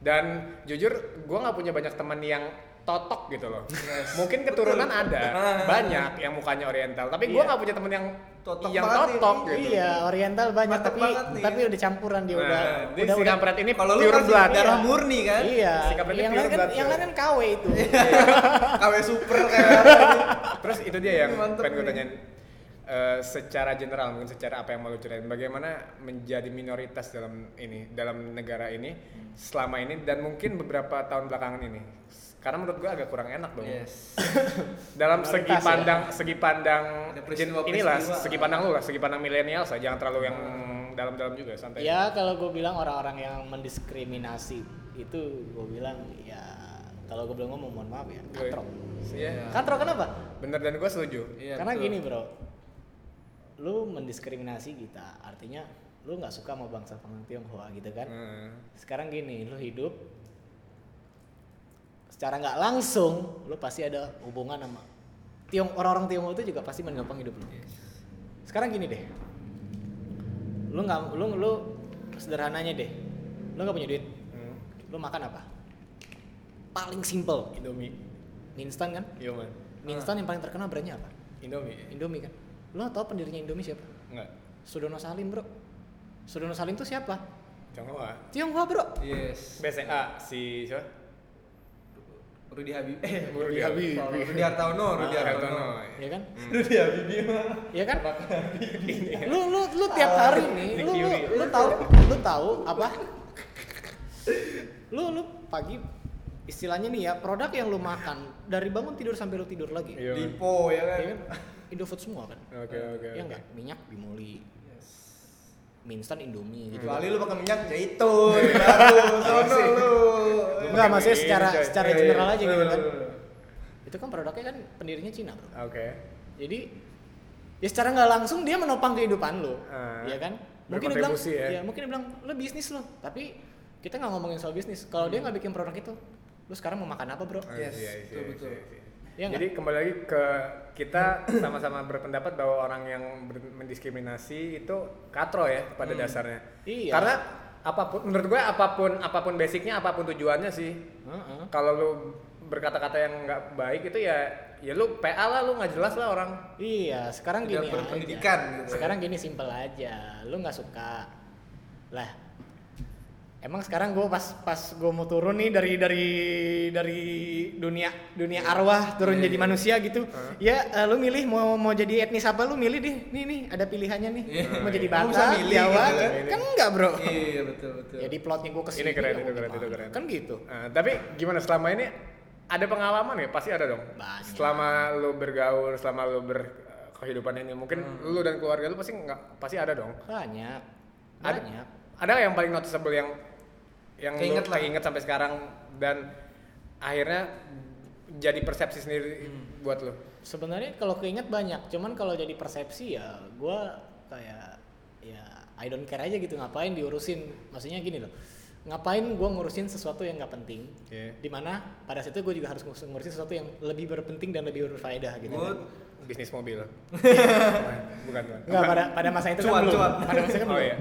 Speaker 1: Dan jujur, gua nggak punya banyak teman yang totok gitu loh. Mungkin keturunan ada,
Speaker 2: Ah.
Speaker 1: banyak yang mukanya oriental, tapi gua
Speaker 3: Iya.
Speaker 1: nggak punya teman yang
Speaker 2: Totok
Speaker 1: yang
Speaker 2: banget
Speaker 1: totok
Speaker 2: ini.
Speaker 1: gitu.
Speaker 3: Iya, oriental banyak
Speaker 2: Mantep
Speaker 3: tapi
Speaker 2: banget nih.
Speaker 3: tapi udah campuran dia
Speaker 1: Nah,
Speaker 3: udah
Speaker 1: jadi
Speaker 3: udah
Speaker 1: si
Speaker 3: udah
Speaker 1: kampret ini
Speaker 2: Kalau lu
Speaker 1: pure
Speaker 2: kan
Speaker 1: blood.
Speaker 2: darah murni kan?
Speaker 3: Iya.
Speaker 1: si kampret ini
Speaker 3: Yang lain
Speaker 1: pure
Speaker 3: kan
Speaker 1: blood
Speaker 3: yang
Speaker 1: ya.
Speaker 3: lain kan KW itu.
Speaker 2: KW super kayak apa nih?
Speaker 1: Terus itu dia yang
Speaker 2: Mantep
Speaker 1: pengen gue
Speaker 2: nih.
Speaker 1: tanyain Eh, secara general mungkin secara apa yang mau lu ceritain bagaimana menjadi minoritas dalam ini dalam negara ini selama ini dan mungkin beberapa tahun belakangan ini karena menurut gua agak kurang enak dong
Speaker 2: Yes.
Speaker 1: dalam segi
Speaker 3: Minoritas ya.
Speaker 1: pandang segi pandang
Speaker 2: Ada
Speaker 1: jen-
Speaker 2: peristiwa-peristiwa.
Speaker 1: inilah segi pandang lu lah segi pandang milenial saja jangan terlalu yang dalam-dalam juga santai
Speaker 3: ya kalau gue bilang orang-orang yang mendiskriminasi itu gue bilang ya kalau gue belum ngomong mohon maaf ya
Speaker 1: Gue-
Speaker 3: katrok.
Speaker 1: Iya.
Speaker 3: Katrok kenapa?
Speaker 1: bener dan gua setuju
Speaker 2: Nah. Iya,
Speaker 3: Kan Karena
Speaker 2: betul.
Speaker 3: gini bro, lu mendiskriminasi kita artinya lu nggak suka sama bangsa Tionghoa gitu
Speaker 2: Nah.
Speaker 3: kan?
Speaker 1: Hmm.
Speaker 3: sekarang gini lu hidup secara nggak langsung lu pasti ada hubungan sama tiong orang-orang tionghoa itu juga pasti menopang hidup lu sekarang gini deh lu nggak lu lu sederhananya deh lu nggak punya duit
Speaker 1: Hmm.
Speaker 3: lu makan apa paling simple
Speaker 1: Indomie
Speaker 3: mie instan kan
Speaker 1: Iya man
Speaker 3: mie instan yang paling terkenal brandnya apa
Speaker 1: Indomie
Speaker 3: indomie kan lu tau pendirinya indomie siapa
Speaker 1: enggak
Speaker 3: Sudono Salim bro Sudono Salim tuh siapa
Speaker 1: Tionghoa
Speaker 3: Tionghoa bro
Speaker 2: Yes.
Speaker 1: BCA si siapa
Speaker 2: Rudy Habib. Eh,
Speaker 1: Rudy Habibie.
Speaker 2: Salah, Rudy Hartono, Rudy
Speaker 1: Ah,
Speaker 2: Hartono. Hmm.
Speaker 1: Hartono.
Speaker 3: ya kan
Speaker 2: Rudy Habibie mah.
Speaker 3: Iya kan? lu lu lu tiap hari
Speaker 2: Ah,
Speaker 3: nih, lu lu,
Speaker 2: ya.
Speaker 3: lu tahu lu tahu apa? Lu lu pagi istilahnya nih ya produk yang lu makan dari bangun tidur sampai lu tidur lagi.
Speaker 1: Iya.
Speaker 2: Dipo ya kan.
Speaker 3: Ya kan? Indofood semua kan?
Speaker 2: Iya,
Speaker 1: Oke oke.
Speaker 3: Ya enggak, minyak bimoli. Mie instan Indomie gitu.
Speaker 2: Kecuali lu pakai minyak zaitun baru sono lu.
Speaker 3: Enggak, maksudnya
Speaker 1: Ini,
Speaker 3: secara
Speaker 1: coy.
Speaker 3: secara
Speaker 2: Iya, iya.
Speaker 3: general aja gitu kan.
Speaker 2: Bener, bener,
Speaker 3: Itu kan produknya kan pendirinya Cina, Bro.
Speaker 1: Oke.
Speaker 3: Jadi ya secara nggak langsung dia menopang kehidupan lo,
Speaker 1: Ah.
Speaker 3: ya kan? Mungkin dia bilang,
Speaker 1: Berkontribusi ya.
Speaker 3: ya. mungkin dia bilang lo bisnis lo, tapi kita
Speaker 1: Hmm.
Speaker 3: nggak ngomongin soal bisnis. Kalau dia nggak bikin produk itu, lo sekarang mau makan apa bro?
Speaker 2: Yes,
Speaker 1: Iya, iya,
Speaker 2: betul,
Speaker 1: iya,
Speaker 2: betul.
Speaker 1: iya, iya.
Speaker 3: Ya Iya nggak?
Speaker 1: Jadi kembali lagi ke kita sama-sama berpendapat bahwa orang yang ber- mendiskriminasi itu katro ya pada dasarnya.
Speaker 3: Iya.
Speaker 1: Karena apapun menurut gue apapun apapun basicnya apapun tujuannya sih.
Speaker 3: Heeh.
Speaker 1: Kalau lu berkata-kata yang nggak baik itu ya ya lu PA lah lu nggak jelas lah orang.
Speaker 3: Iya, sekarang
Speaker 2: Tidak
Speaker 3: gini aja.
Speaker 2: berpendidikan gitu ya.
Speaker 3: Sekarang gini simpel aja. Lu nggak suka. Lah. Emang sekarang gue pas pas gue mau turun nih dari dari dari dunia dunia
Speaker 2: Iya.
Speaker 3: arwah turun jadi manusia gitu. Ya eh, lu milih mau mau jadi etnis apa lu milih deh. Nih nih ada pilihannya nih.
Speaker 2: Iya.
Speaker 3: Mau jadi
Speaker 2: Lu bisa
Speaker 3: Batak,
Speaker 2: milih
Speaker 3: Jawa.
Speaker 2: gitu kan.
Speaker 3: Kan enggak, Bro.
Speaker 2: Iya betul betul.
Speaker 3: Jadi plotnya gue kesini.
Speaker 1: Ini keren,
Speaker 3: ya
Speaker 1: itu
Speaker 3: mau
Speaker 1: keren, itu
Speaker 3: gimana.
Speaker 1: keren.
Speaker 3: Kan gitu.
Speaker 1: Nah, tapi gimana selama ini ada pengalaman ya pasti ada dong.
Speaker 3: Banyak.
Speaker 1: Selama lu bergaul, selama lu berkehidupan ini mungkin lu dan keluarga lu pasti nggak pasti ada dong.
Speaker 3: Banyak.
Speaker 1: Ada-
Speaker 3: Banyak.
Speaker 1: Ada nggak yang paling noticeable yang yang
Speaker 2: Keinget
Speaker 1: lu
Speaker 2: lah.
Speaker 1: inget sampai sekarang dan akhirnya jadi persepsi sendiri buat lu.
Speaker 3: Sebenarnya kalau keinget banyak, cuman kalau jadi persepsi ya gua kayak ya I don't care aja gitu ngapain diurusin. Maksudnya gini loh. Ngapain gua ngurusin sesuatu yang nggak penting?
Speaker 1: Iya.
Speaker 3: Dimana pada saat itu gue juga harus ngurus- ngurusin sesuatu yang lebih berpenting dan lebih berfaedah gitu.
Speaker 2: Good.
Speaker 1: Bisnis mobil. Bukan bukan.
Speaker 3: Enggak pada pada masa itu
Speaker 2: Cuan,
Speaker 3: kan belum.
Speaker 2: cuan.
Speaker 3: Pada masa itu kan
Speaker 1: Oh
Speaker 3: belum.
Speaker 1: iya.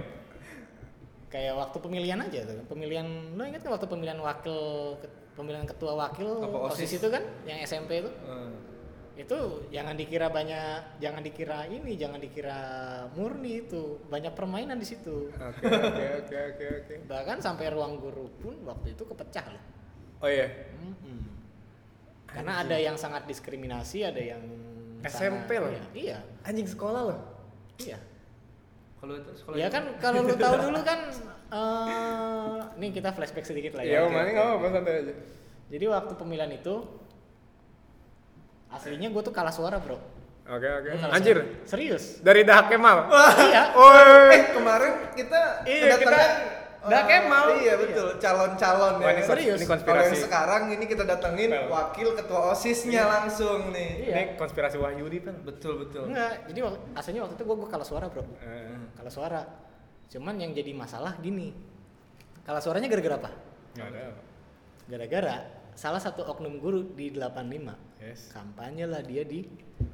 Speaker 3: Kayak waktu pemilihan aja tuh. Pemilihan lo inget nggak waktu pemilihan wakil pemilihan ketua wakil
Speaker 2: Apa
Speaker 3: OSIS
Speaker 2: OSIS?
Speaker 3: itu kan yang SMP itu?
Speaker 2: Hmm.
Speaker 3: itu jangan dikira banyak jangan dikira ini jangan dikira murni itu banyak permainan di situ
Speaker 1: Oke oke oke oke oke.
Speaker 3: bahkan sampai ruang guru pun waktu itu kepecah loh
Speaker 1: Oh iya.
Speaker 3: Mm-mm. karena ada yang sangat diskriminasi ada yang
Speaker 1: SMP loh.
Speaker 3: iya iya
Speaker 1: Anjing sekolah loh.
Speaker 3: iya
Speaker 2: Kalau itu sekolah.
Speaker 3: ya kan kalau lu tahu dulu kan eh nih kita flashback sedikit lah
Speaker 1: Iya,
Speaker 3: ya
Speaker 1: mana nggak apa-apa santai aja.
Speaker 3: jadi waktu pemilihan itu aslinya gue tuh kalah suara bro
Speaker 1: Oke oke.
Speaker 3: Gua kalah
Speaker 1: Anjir.
Speaker 3: suara. serius
Speaker 1: Dari Dahak Kemal.
Speaker 3: iya
Speaker 2: Eh kemarin kita
Speaker 1: Iya,
Speaker 2: kedatangan
Speaker 1: kita- udah Kemal.
Speaker 2: Iya betul, calon-calon
Speaker 1: Wah, ini
Speaker 2: ya.
Speaker 1: serius. Ini konspirasi.
Speaker 2: Kalau yang sekarang ini kita datengin
Speaker 1: Pel.
Speaker 2: wakil ketua OSISnya langsung nih. Iya.
Speaker 3: Iya.
Speaker 1: Ini konspirasi Wahyudi kan.
Speaker 2: Betul betul.
Speaker 3: Enggak, jadi wak- aslinya waktu itu gue kalah suara bro
Speaker 1: Eh,
Speaker 3: Kalah suara Cuman yang jadi masalah gini Kalah suaranya gara-gara apa?
Speaker 1: nggak ada.
Speaker 3: Gara-gara salah satu oknum guru di 85
Speaker 1: Yes.
Speaker 3: Kampanye lah dia di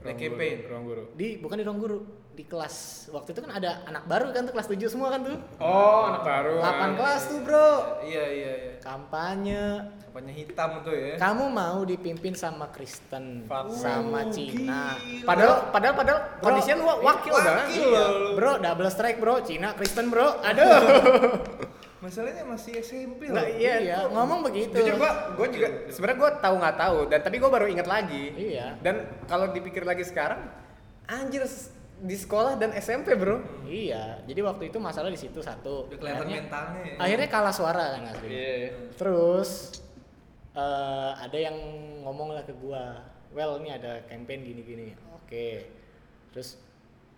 Speaker 1: Ruang
Speaker 2: PKP.
Speaker 1: guru, Ruang guru.
Speaker 3: di bukan di ruang guru di kelas waktu itu kan ada anak baru kan tuh kelas 7 semua kan tuh
Speaker 1: Oh, anak baru.
Speaker 3: 8 kelas tuh bro
Speaker 2: Iya iya iya.
Speaker 3: kampanye
Speaker 2: Apanya hitam tuh ya.
Speaker 3: kamu mau dipimpin sama Kristen
Speaker 1: Fuck,
Speaker 3: sama
Speaker 2: man.
Speaker 3: Cina
Speaker 2: Gila.
Speaker 1: Padahal padahal padahal
Speaker 3: Bro,
Speaker 1: kondisinya lu wa- wakil dah.
Speaker 2: wakil.
Speaker 3: Iya, bro double strike bro Cina Kristen bro aduh
Speaker 2: Masalahnya masih SMP loh.
Speaker 1: Nah,
Speaker 3: iya,
Speaker 1: iya, gua-
Speaker 3: ngomong begitu.
Speaker 1: Jujur gua gua juga sebenarnya gua tahu nggak tahu dan tapi gua baru ingat lagi.
Speaker 3: Iya.
Speaker 1: Dan kalau dipikir lagi sekarang anjir s- di sekolah dan SMP, Bro.
Speaker 3: Iya, jadi waktu itu masalah di situ satu.
Speaker 2: Udah kelihatan
Speaker 3: Akhirnya-
Speaker 2: mentalnya ya.
Speaker 3: Akhirnya kalah suara kan asli.
Speaker 1: Iya.
Speaker 3: Terus eh, ada yang ngomong lah ke gua, well ini ada campaign gini-gini. Oke. Terus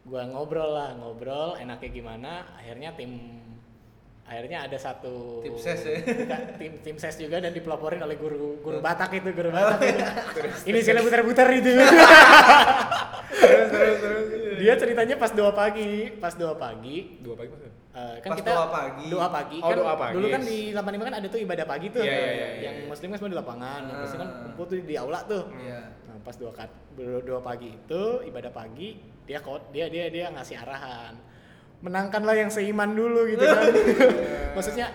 Speaker 3: gua ngobrol lah, ngobrol enaknya gimana. Akhirnya tim akhirnya ada satu
Speaker 2: Tim ses ya? Oh.
Speaker 3: Bukan, tim tim ses juga dan dipeloporin oleh guru guru Batak itu guru Batak itu. ini sila putar-putar itu
Speaker 1: terus terus terus.
Speaker 3: dia ceritanya pas doa pagi pas doa pagi
Speaker 1: Dua pagi ya? maksudnya.
Speaker 3: eh, kan
Speaker 2: Pas
Speaker 3: kita
Speaker 2: doa pagi.
Speaker 3: doa pagi
Speaker 1: Oh,
Speaker 3: kan
Speaker 1: doa pagi.
Speaker 3: dulu kan di 85 kan ada tuh ibadah pagi tuh
Speaker 1: Iya, iya, iya,
Speaker 3: yang
Speaker 1: iya. Hmm.
Speaker 3: muslim kan semua di lapangan yang muslim kan
Speaker 2: Ah.
Speaker 3: kumpul tuh di aula tuh
Speaker 2: Iya.
Speaker 3: nah, pas doa kat- doa doa pagi itu ibadah pagi dia kot dia dia dia ngasih arahan menangkanlah yang seiman dulu gitu kan maksudnya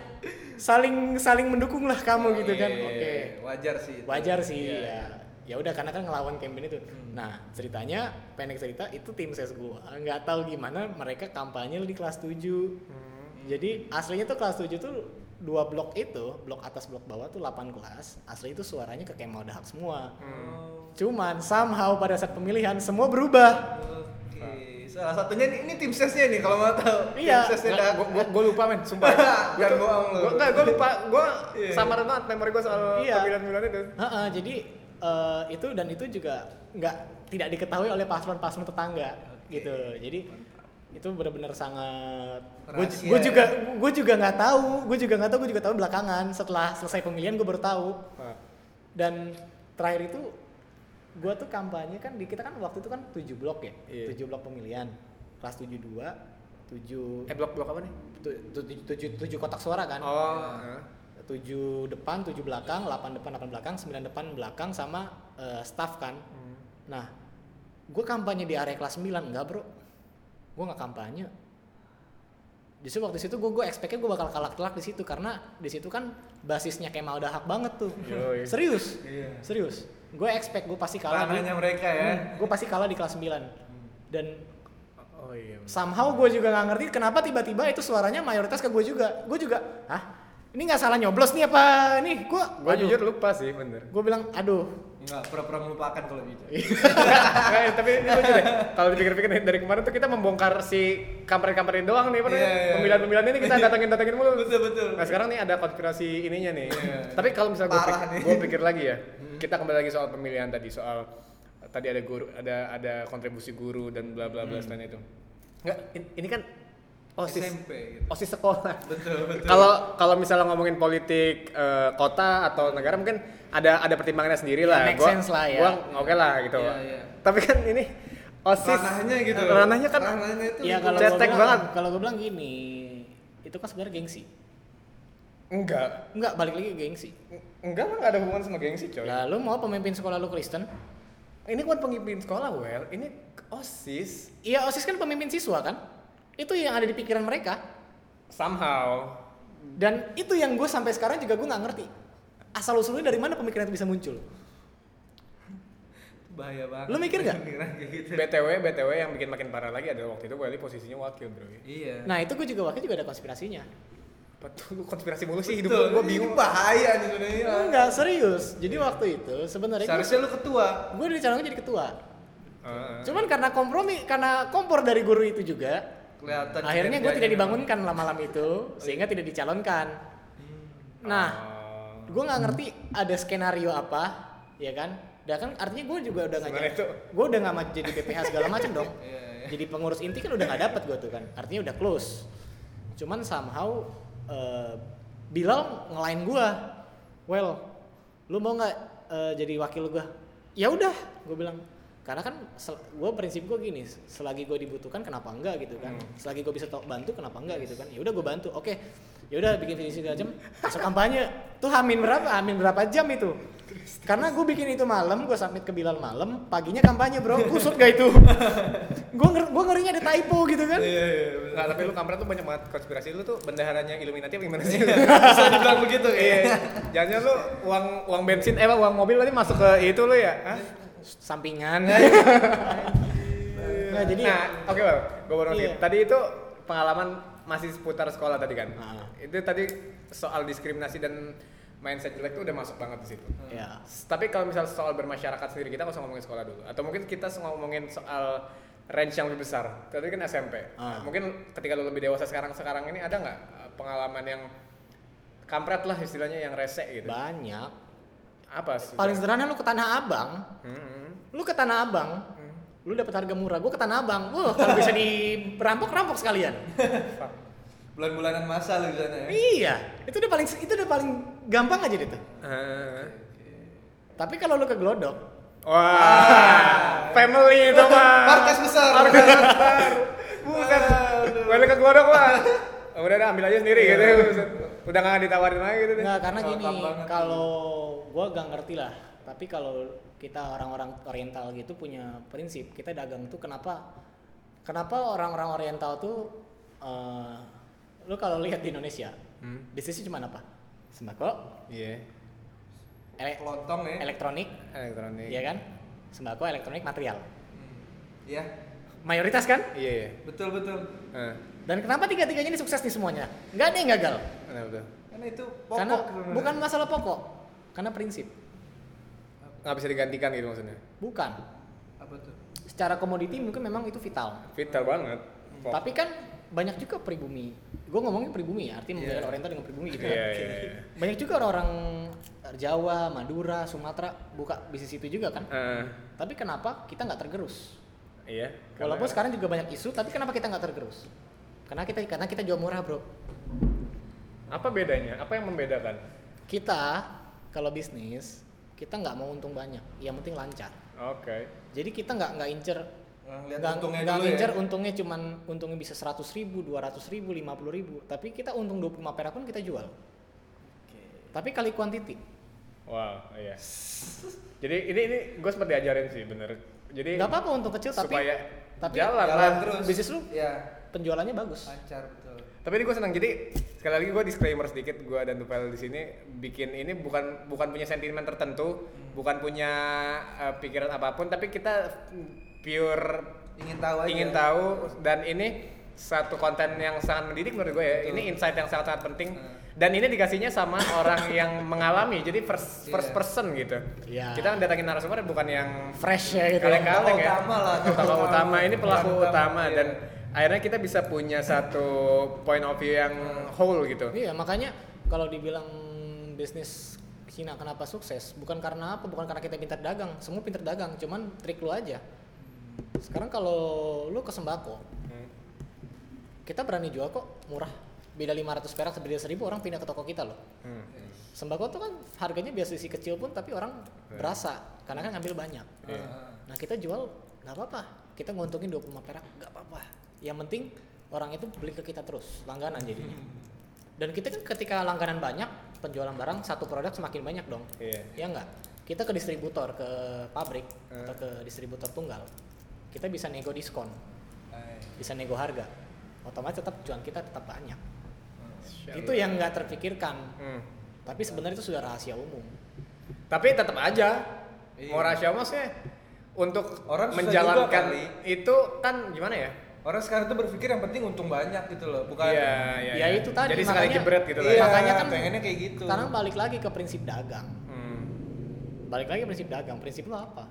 Speaker 3: saling saling mendukung lah kamu gitu kan
Speaker 2: Iya,
Speaker 3: oke
Speaker 2: Wajar sih. itu.
Speaker 3: wajar sih
Speaker 2: Iya. Hmm.
Speaker 3: ya ya udah karena kan ngelawan campaign itu nah ceritanya pendek cerita itu tim ses gua nggak tahu gimana mereka kampanye di kelas 7
Speaker 2: Hmm.
Speaker 3: jadi aslinya tuh kelas 7 tuh dua blok itu blok atas blok bawah tuh 8 kelas asli itu suaranya ke Kemal Dahak semua
Speaker 2: Hmm.
Speaker 3: cuman somehow pada saat pemilihan semua berubah
Speaker 2: Oke. Salah satunya nih, ini tim sesnya nih kalau mau tahu.
Speaker 3: Iya.
Speaker 2: Tim sesnya
Speaker 1: Nggak,
Speaker 2: dah.
Speaker 1: gua, gua, gua lupa men, sumpah.
Speaker 2: Jangan bohong lu.
Speaker 1: Gua enggak, gua lupa. Gua
Speaker 2: Iya.
Speaker 1: samar banget memori gua soal
Speaker 3: Iya.
Speaker 1: pemilihan-pemilihan itu.
Speaker 3: Heeh, jadi eh, itu dan itu juga nggak tidak diketahui oleh paslon-paslon tetangga
Speaker 2: Oke.
Speaker 3: gitu. Jadi itu benar-benar sangat
Speaker 2: Rahasia
Speaker 3: gue
Speaker 2: ya.
Speaker 3: juga gue juga nggak tahu gue juga nggak tahu gue juga tahu belakangan setelah selesai pemilihan gue baru tahu
Speaker 1: Ah.
Speaker 3: dan terakhir itu gue tuh kampanye kan di kita kan waktu itu kan 7 blok ya
Speaker 1: Iya.
Speaker 3: 7 blok pemilihan kelas 72 7
Speaker 1: Eh blok-blok apa nih?
Speaker 3: tu- tu- tujuh tujuh- tujuh kotak suara kan
Speaker 1: Oh. ah.
Speaker 3: 7 depan, 7 belakang, 8 depan, 8 belakang, 9 depan belakang sama eh, staff kan. Nah, gue kampanye di area kelas 9 enggak bro, gue nggak kampanye. Justru waktu situ gue gue expectnya gue bakal kalah telak di situ karena di situ kan basisnya Kemal Dahak banget tuh.
Speaker 1: Yoi.
Speaker 3: Serius,
Speaker 2: Iya.
Speaker 3: serius. Gue expect gue pasti kalah.
Speaker 2: Tanahnya mereka ya.
Speaker 3: Gue pasti kalah di kelas 9 dan
Speaker 1: Oh iya.
Speaker 3: somehow gue juga nggak ngerti kenapa tiba-tiba itu suaranya mayoritas ke gue juga gue juga ah ini nggak salah nyoblos nih apa nih gue
Speaker 1: Gue jujur lupa sih bener.
Speaker 3: gue bilang aduh
Speaker 2: Enggak, pura-pura melupakan kalau gitu.
Speaker 3: Iya.
Speaker 1: Nggak, tapi ini lucu deh. Kalau dipikir-pikir nih, dari kemarin tuh kita membongkar si kampret-kampretin doang nih, pernah
Speaker 2: Iya, iya.
Speaker 1: pemilihan-pemilihan ini kita datengin-datengin mulu.
Speaker 2: Betul, betul.
Speaker 1: Nah sekarang nih ada konspirasi ininya nih.
Speaker 2: Iya.
Speaker 1: Tapi kalau misalnya gue
Speaker 2: Parah
Speaker 1: pikir,
Speaker 2: nih. Hmm.
Speaker 1: gua pikir lagi ya, kita kembali lagi soal pemilihan tadi soal tadi ada guru, ada ada kontribusi guru dan bla bla bla
Speaker 2: Hmm.
Speaker 1: dan itu. Enggak, in- ini kan osis
Speaker 2: SMP gitu.
Speaker 1: osis sekolah.
Speaker 2: Betul, betul.
Speaker 1: Kalau kalau misalnya ngomongin politik eh, kota atau negara mungkin ada ada pertimbangannya sendiri lah.
Speaker 3: make sense lah ya.
Speaker 1: Gua oke lah gitu.
Speaker 2: Iya, iya.
Speaker 1: Tapi kan ini osis.
Speaker 2: ranahnya gitu.
Speaker 1: Ranahnya kan.
Speaker 2: ranahnya itu
Speaker 3: ya
Speaker 2: lingkup
Speaker 3: kalau
Speaker 1: cetek
Speaker 3: gue bilang
Speaker 1: banget.
Speaker 3: kalau gue bilang gini itu kan sebenarnya gengsi
Speaker 1: Enggak.
Speaker 3: nggak balik lagi ke gengsi
Speaker 1: Enggak lah, enggak ada hubungan sama gengsi, coy.
Speaker 2: Nah.
Speaker 3: lalu mau pemimpin sekolah lu Kristen
Speaker 1: Ini bukan pemimpin sekolah, well. Ini osis
Speaker 3: iya osis kan pemimpin siswa kan itu yang ada di pikiran mereka
Speaker 1: somehow.
Speaker 3: dan itu yang gue sampai sekarang juga gue nggak ngerti asal usulnya dari mana pemikiran itu bisa muncul
Speaker 2: bahaya banget.
Speaker 3: Lu mikir nggak?
Speaker 2: Pikiran kayak gitu.
Speaker 1: BTW, BTW yang bikin makin parah lagi adalah waktu itu Welly posisinya wakil, bro.
Speaker 2: Iya.
Speaker 3: nah itu gue juga wakil juga ada konspirasinya
Speaker 1: Apa tuh lu konspirasi mulu sih hidup
Speaker 2: Betul,
Speaker 1: gue
Speaker 2: ini
Speaker 1: bingung.
Speaker 2: bahaya nih sebenarnya.
Speaker 3: enggak serius jadi waktu itu sebenarnya gua-
Speaker 2: Seharusnya lu ketua.
Speaker 3: gue dicalonkan jadi ketua
Speaker 1: Heeh.
Speaker 3: cuman karena kompromi karena kompor dari guru itu juga
Speaker 2: Kelihatan. kinerjanya
Speaker 3: akhirnya gue tidak
Speaker 2: memang.
Speaker 3: dibangunkan lah malam itu sehingga tidak dicalonkan nah
Speaker 1: iya. Hmm. Oh.
Speaker 3: gue nggak ngerti ada skenario apa ya kan dan kan artinya gue juga udah nggak
Speaker 1: Sebenarnya
Speaker 3: jadi
Speaker 1: itu-
Speaker 3: gue udah nggak ma- jadi BPH segala macem dong
Speaker 2: Iya, iya.
Speaker 3: jadi pengurus inti kan udah nggak dapet gue tuh kan artinya udah close cuman somehow eh, Bilal ngelain gue well lu mau nggak eh, jadi wakil gue ya udah gue bilang karena kan gue prinsip gue gini selagi gue dibutuhkan kenapa enggak gitu kan selagi gue bisa to- bantu kenapa enggak gitu kan ya udah gue bantu oke ya udah bikin video segala jam masuk kampanye tuh hamin berapa hamin berapa jam itu karena gue bikin itu malam gue submit ke Bilal malam paginya kampanye bro kusut gak itu gue nger gue ngerinya ada typo gitu kan
Speaker 2: Iya, iya. betul.
Speaker 1: Nggak, Nah, tapi lu kampret tuh banyak banget konspirasi lu tuh bendaharanya Illuminati apa gimana sih?
Speaker 2: Bisa dibilang begitu ya.
Speaker 1: Iya. Jangan lu uang uang bensin eh uang mobil nanti masuk ke itu lu ya. Hah?
Speaker 3: sampingan nah jadi
Speaker 1: nah, oke Bang. Gua baru ngerti.
Speaker 3: Iya.
Speaker 1: Tadi itu pengalaman masih seputar sekolah tadi kan.
Speaker 3: Ah.
Speaker 1: Itu tadi soal diskriminasi dan mindset jelek tuh udah masuk banget di situ.
Speaker 3: ya
Speaker 1: S- Tapi kalau misal soal bermasyarakat sendiri kita nggak usah ngomongin sekolah dulu. Atau mungkin kita ngomongin soal range yang lebih besar. Tadi kan SMP.
Speaker 3: Ah.
Speaker 1: Mungkin ketika lu lebih dewasa sekarang sekarang ini ada nggak eh, pengalaman yang kampret lah istilahnya yang rese gitu.
Speaker 3: banyak
Speaker 1: Apa sih?
Speaker 3: paling sederhana lu ke tanah abang
Speaker 1: Hmm.
Speaker 3: lu ke tanah abang lu dapat harga murah gue ke tanah abang wah kalau bisa dirampok rampok sekalian
Speaker 1: Fuck.
Speaker 2: Bulan-bulanan masa lu di sana ya.
Speaker 3: iya itu udah paling itu udah paling gampang aja deh tuh
Speaker 1: Ah.
Speaker 3: tapi kalau lu ke glodok
Speaker 1: Wah, family itu mah.
Speaker 2: Markas besar.
Speaker 1: Markas besar. Buset.
Speaker 2: Aduh.
Speaker 1: Balik ke glodok lah. Udah udah ambil aja sendiri gitu. Buset. Udah nggak ditawarin lagi gitu deh.
Speaker 3: Iya. nggak karena
Speaker 2: Kalau
Speaker 3: gini
Speaker 2: tambang nanti.
Speaker 3: kalau gue gak ngerti lah tapi kalau kita orang-orang Oriental gitu punya prinsip kita dagang tuh kenapa kenapa orang-orang Oriental tuh eh lu kalau lihat di Indonesia
Speaker 1: Hmm.
Speaker 3: bisnisnya cuma apa sembako
Speaker 1: Iya.
Speaker 3: ele-
Speaker 2: Kelontong ya.
Speaker 3: elektronik
Speaker 1: Elektronik.
Speaker 3: ya kan sembako elektronik material
Speaker 2: Hmm. Iya.
Speaker 3: mayoritas kan
Speaker 1: Iya iya.
Speaker 2: Betul, betul.
Speaker 1: Nah,
Speaker 3: dan kenapa tiga-tiganya ini sukses nih semuanya nggak ada yang gagal
Speaker 1: kenapa tuh?
Speaker 2: Karena itu pokok
Speaker 3: karena
Speaker 2: sebenarnya.
Speaker 3: bukan masalah pokok karena prinsip
Speaker 1: Nggak bisa digantikan gitu maksudnya.
Speaker 3: bukan
Speaker 2: apa tuh?
Speaker 3: secara komoditi mungkin memang itu vital.
Speaker 1: Vital banget. Pok.
Speaker 3: Tapi kan banyak juga pribumi. Gue ngomongin pribumi ya, artinya
Speaker 2: Iya.
Speaker 3: yeah. oriental dengan pribumi gitu.
Speaker 1: Iya
Speaker 3: ya.
Speaker 1: iya. iya.
Speaker 3: Banyak juga orang-orang Jawa, Madura, Sumatera buka bisnis itu juga kan.
Speaker 1: Ah,
Speaker 3: Tapi kenapa kita nggak tergerus?
Speaker 1: Iya.
Speaker 3: Walaupun sekarang juga banyak isu, tapi kenapa kita nggak tergerus? Karena kita karena kita jual murah bro.
Speaker 1: apa bedanya? Apa yang membedakan?
Speaker 3: Kita kalau bisnis kita nggak mau untung banyak, yang penting lancar.
Speaker 1: Oke.
Speaker 3: Jadi kita nggak nggak incer
Speaker 2: Nah, lihat
Speaker 3: nggak
Speaker 2: untungnya
Speaker 3: nggak
Speaker 2: dulu
Speaker 3: ngincer
Speaker 2: ya.
Speaker 3: untungnya cuman untungnya bisa 100 ribu, 200 ribu, 50 ribu tapi kita untung 25 perak pun kita jual
Speaker 2: Oke.
Speaker 3: tapi kali kuantiti
Speaker 1: Wow, iya. Jadi ini ini gue sempat diajarin sih bener. Jadi
Speaker 3: Gak apa-apa untung kecil tapi
Speaker 1: supaya
Speaker 3: tapi
Speaker 1: jalan,
Speaker 2: Jalan
Speaker 1: lah.
Speaker 2: terus.
Speaker 3: bisnis lu?
Speaker 2: Iya,
Speaker 3: penjualannya bagus.
Speaker 2: lancar betul.
Speaker 1: Tapi ini gue senang. Jadi sekali lagi gue disclaimer sedikit gue dan Tupel di sini bikin ini bukan bukan punya sentimen tertentu,
Speaker 3: Hmm.
Speaker 1: bukan punya eh, pikiran apapun, tapi kita pure
Speaker 2: Ingin tahu aja.
Speaker 1: ingin tahu dan ini satu konten yang sangat mendidik menurut gue ya.
Speaker 2: Betul.
Speaker 1: Ini insight yang sangat-sangat penting
Speaker 2: Hmm.
Speaker 1: dan ini dikasihnya sama orang yang mengalami. Jadi first
Speaker 2: Iya.
Speaker 1: first person gitu.
Speaker 3: Iya.
Speaker 1: Kita mendatangin narasumber bukan yang
Speaker 3: Fresh ya gitu. ya.
Speaker 1: kaleng-kaleng ya.
Speaker 2: Utama lah,
Speaker 1: Utama
Speaker 2: utama.
Speaker 1: utama ini pelaku
Speaker 2: Utama,
Speaker 1: utama
Speaker 2: iya.
Speaker 1: dan akhirnya kita bisa punya satu point of view yang whole gitu.
Speaker 3: Iya, makanya kalau dibilang bisnis Cina kenapa sukses? Bukan karena apa? Bukan karena kita pintar dagang. Semua pintar dagang, cuman trik lu aja. Sekarang kalau lu ke sembako,
Speaker 2: Hmm.
Speaker 3: kita berani jual kok murah. Beda 500 perak sama beda 1000 orang pindah ke toko kita loh.
Speaker 1: Hmm.
Speaker 3: Sembako tuh kan harganya biasa isi kecil pun tapi orang berasa karena kan ngambil banyak.
Speaker 1: Iya.
Speaker 3: Nah kita jual nggak apa-apa, kita nguntungin 25 perak nggak apa-apa. Yang penting orang itu beli ke kita terus, langganan jadinya. Dan kita kan ketika langganan banyak, penjualan barang satu produk semakin banyak dong.
Speaker 1: Iya.
Speaker 3: Ya nggak? Kita ke distributor, ke pabrik atau ke distributor tunggal, kita bisa nego diskon,
Speaker 2: Hai.
Speaker 3: bisa nego harga. Otomatis tetap cuan kita tetap banyak.
Speaker 1: Shit.
Speaker 2: Gitu.
Speaker 3: Itu yang nggak terpikirkan.
Speaker 1: Hmm.
Speaker 3: Tapi sebenarnya itu sudah rahasia umum.
Speaker 1: Tapi tetap aja
Speaker 2: Iya.
Speaker 1: mau rahasia maksudnya untuk
Speaker 2: Orang susah juga
Speaker 1: menjalankan
Speaker 2: kali.
Speaker 1: itu kan gimana ya?
Speaker 2: Orang sekarang tuh berpikir yang penting untung banyak gitu loh, bukan
Speaker 1: Iya, iya.
Speaker 3: Ya, itu tadi,
Speaker 1: Jadi sekali
Speaker 3: makanya-
Speaker 1: jebret gitu
Speaker 2: Iya,
Speaker 1: lah. ya.
Speaker 3: Makanya kan-
Speaker 2: pengennya kayak gitu.
Speaker 3: Sekarang balik lagi ke prinsip dagang.
Speaker 1: Hmm.
Speaker 3: balik lagi ke prinsip dagang prinsip lo apa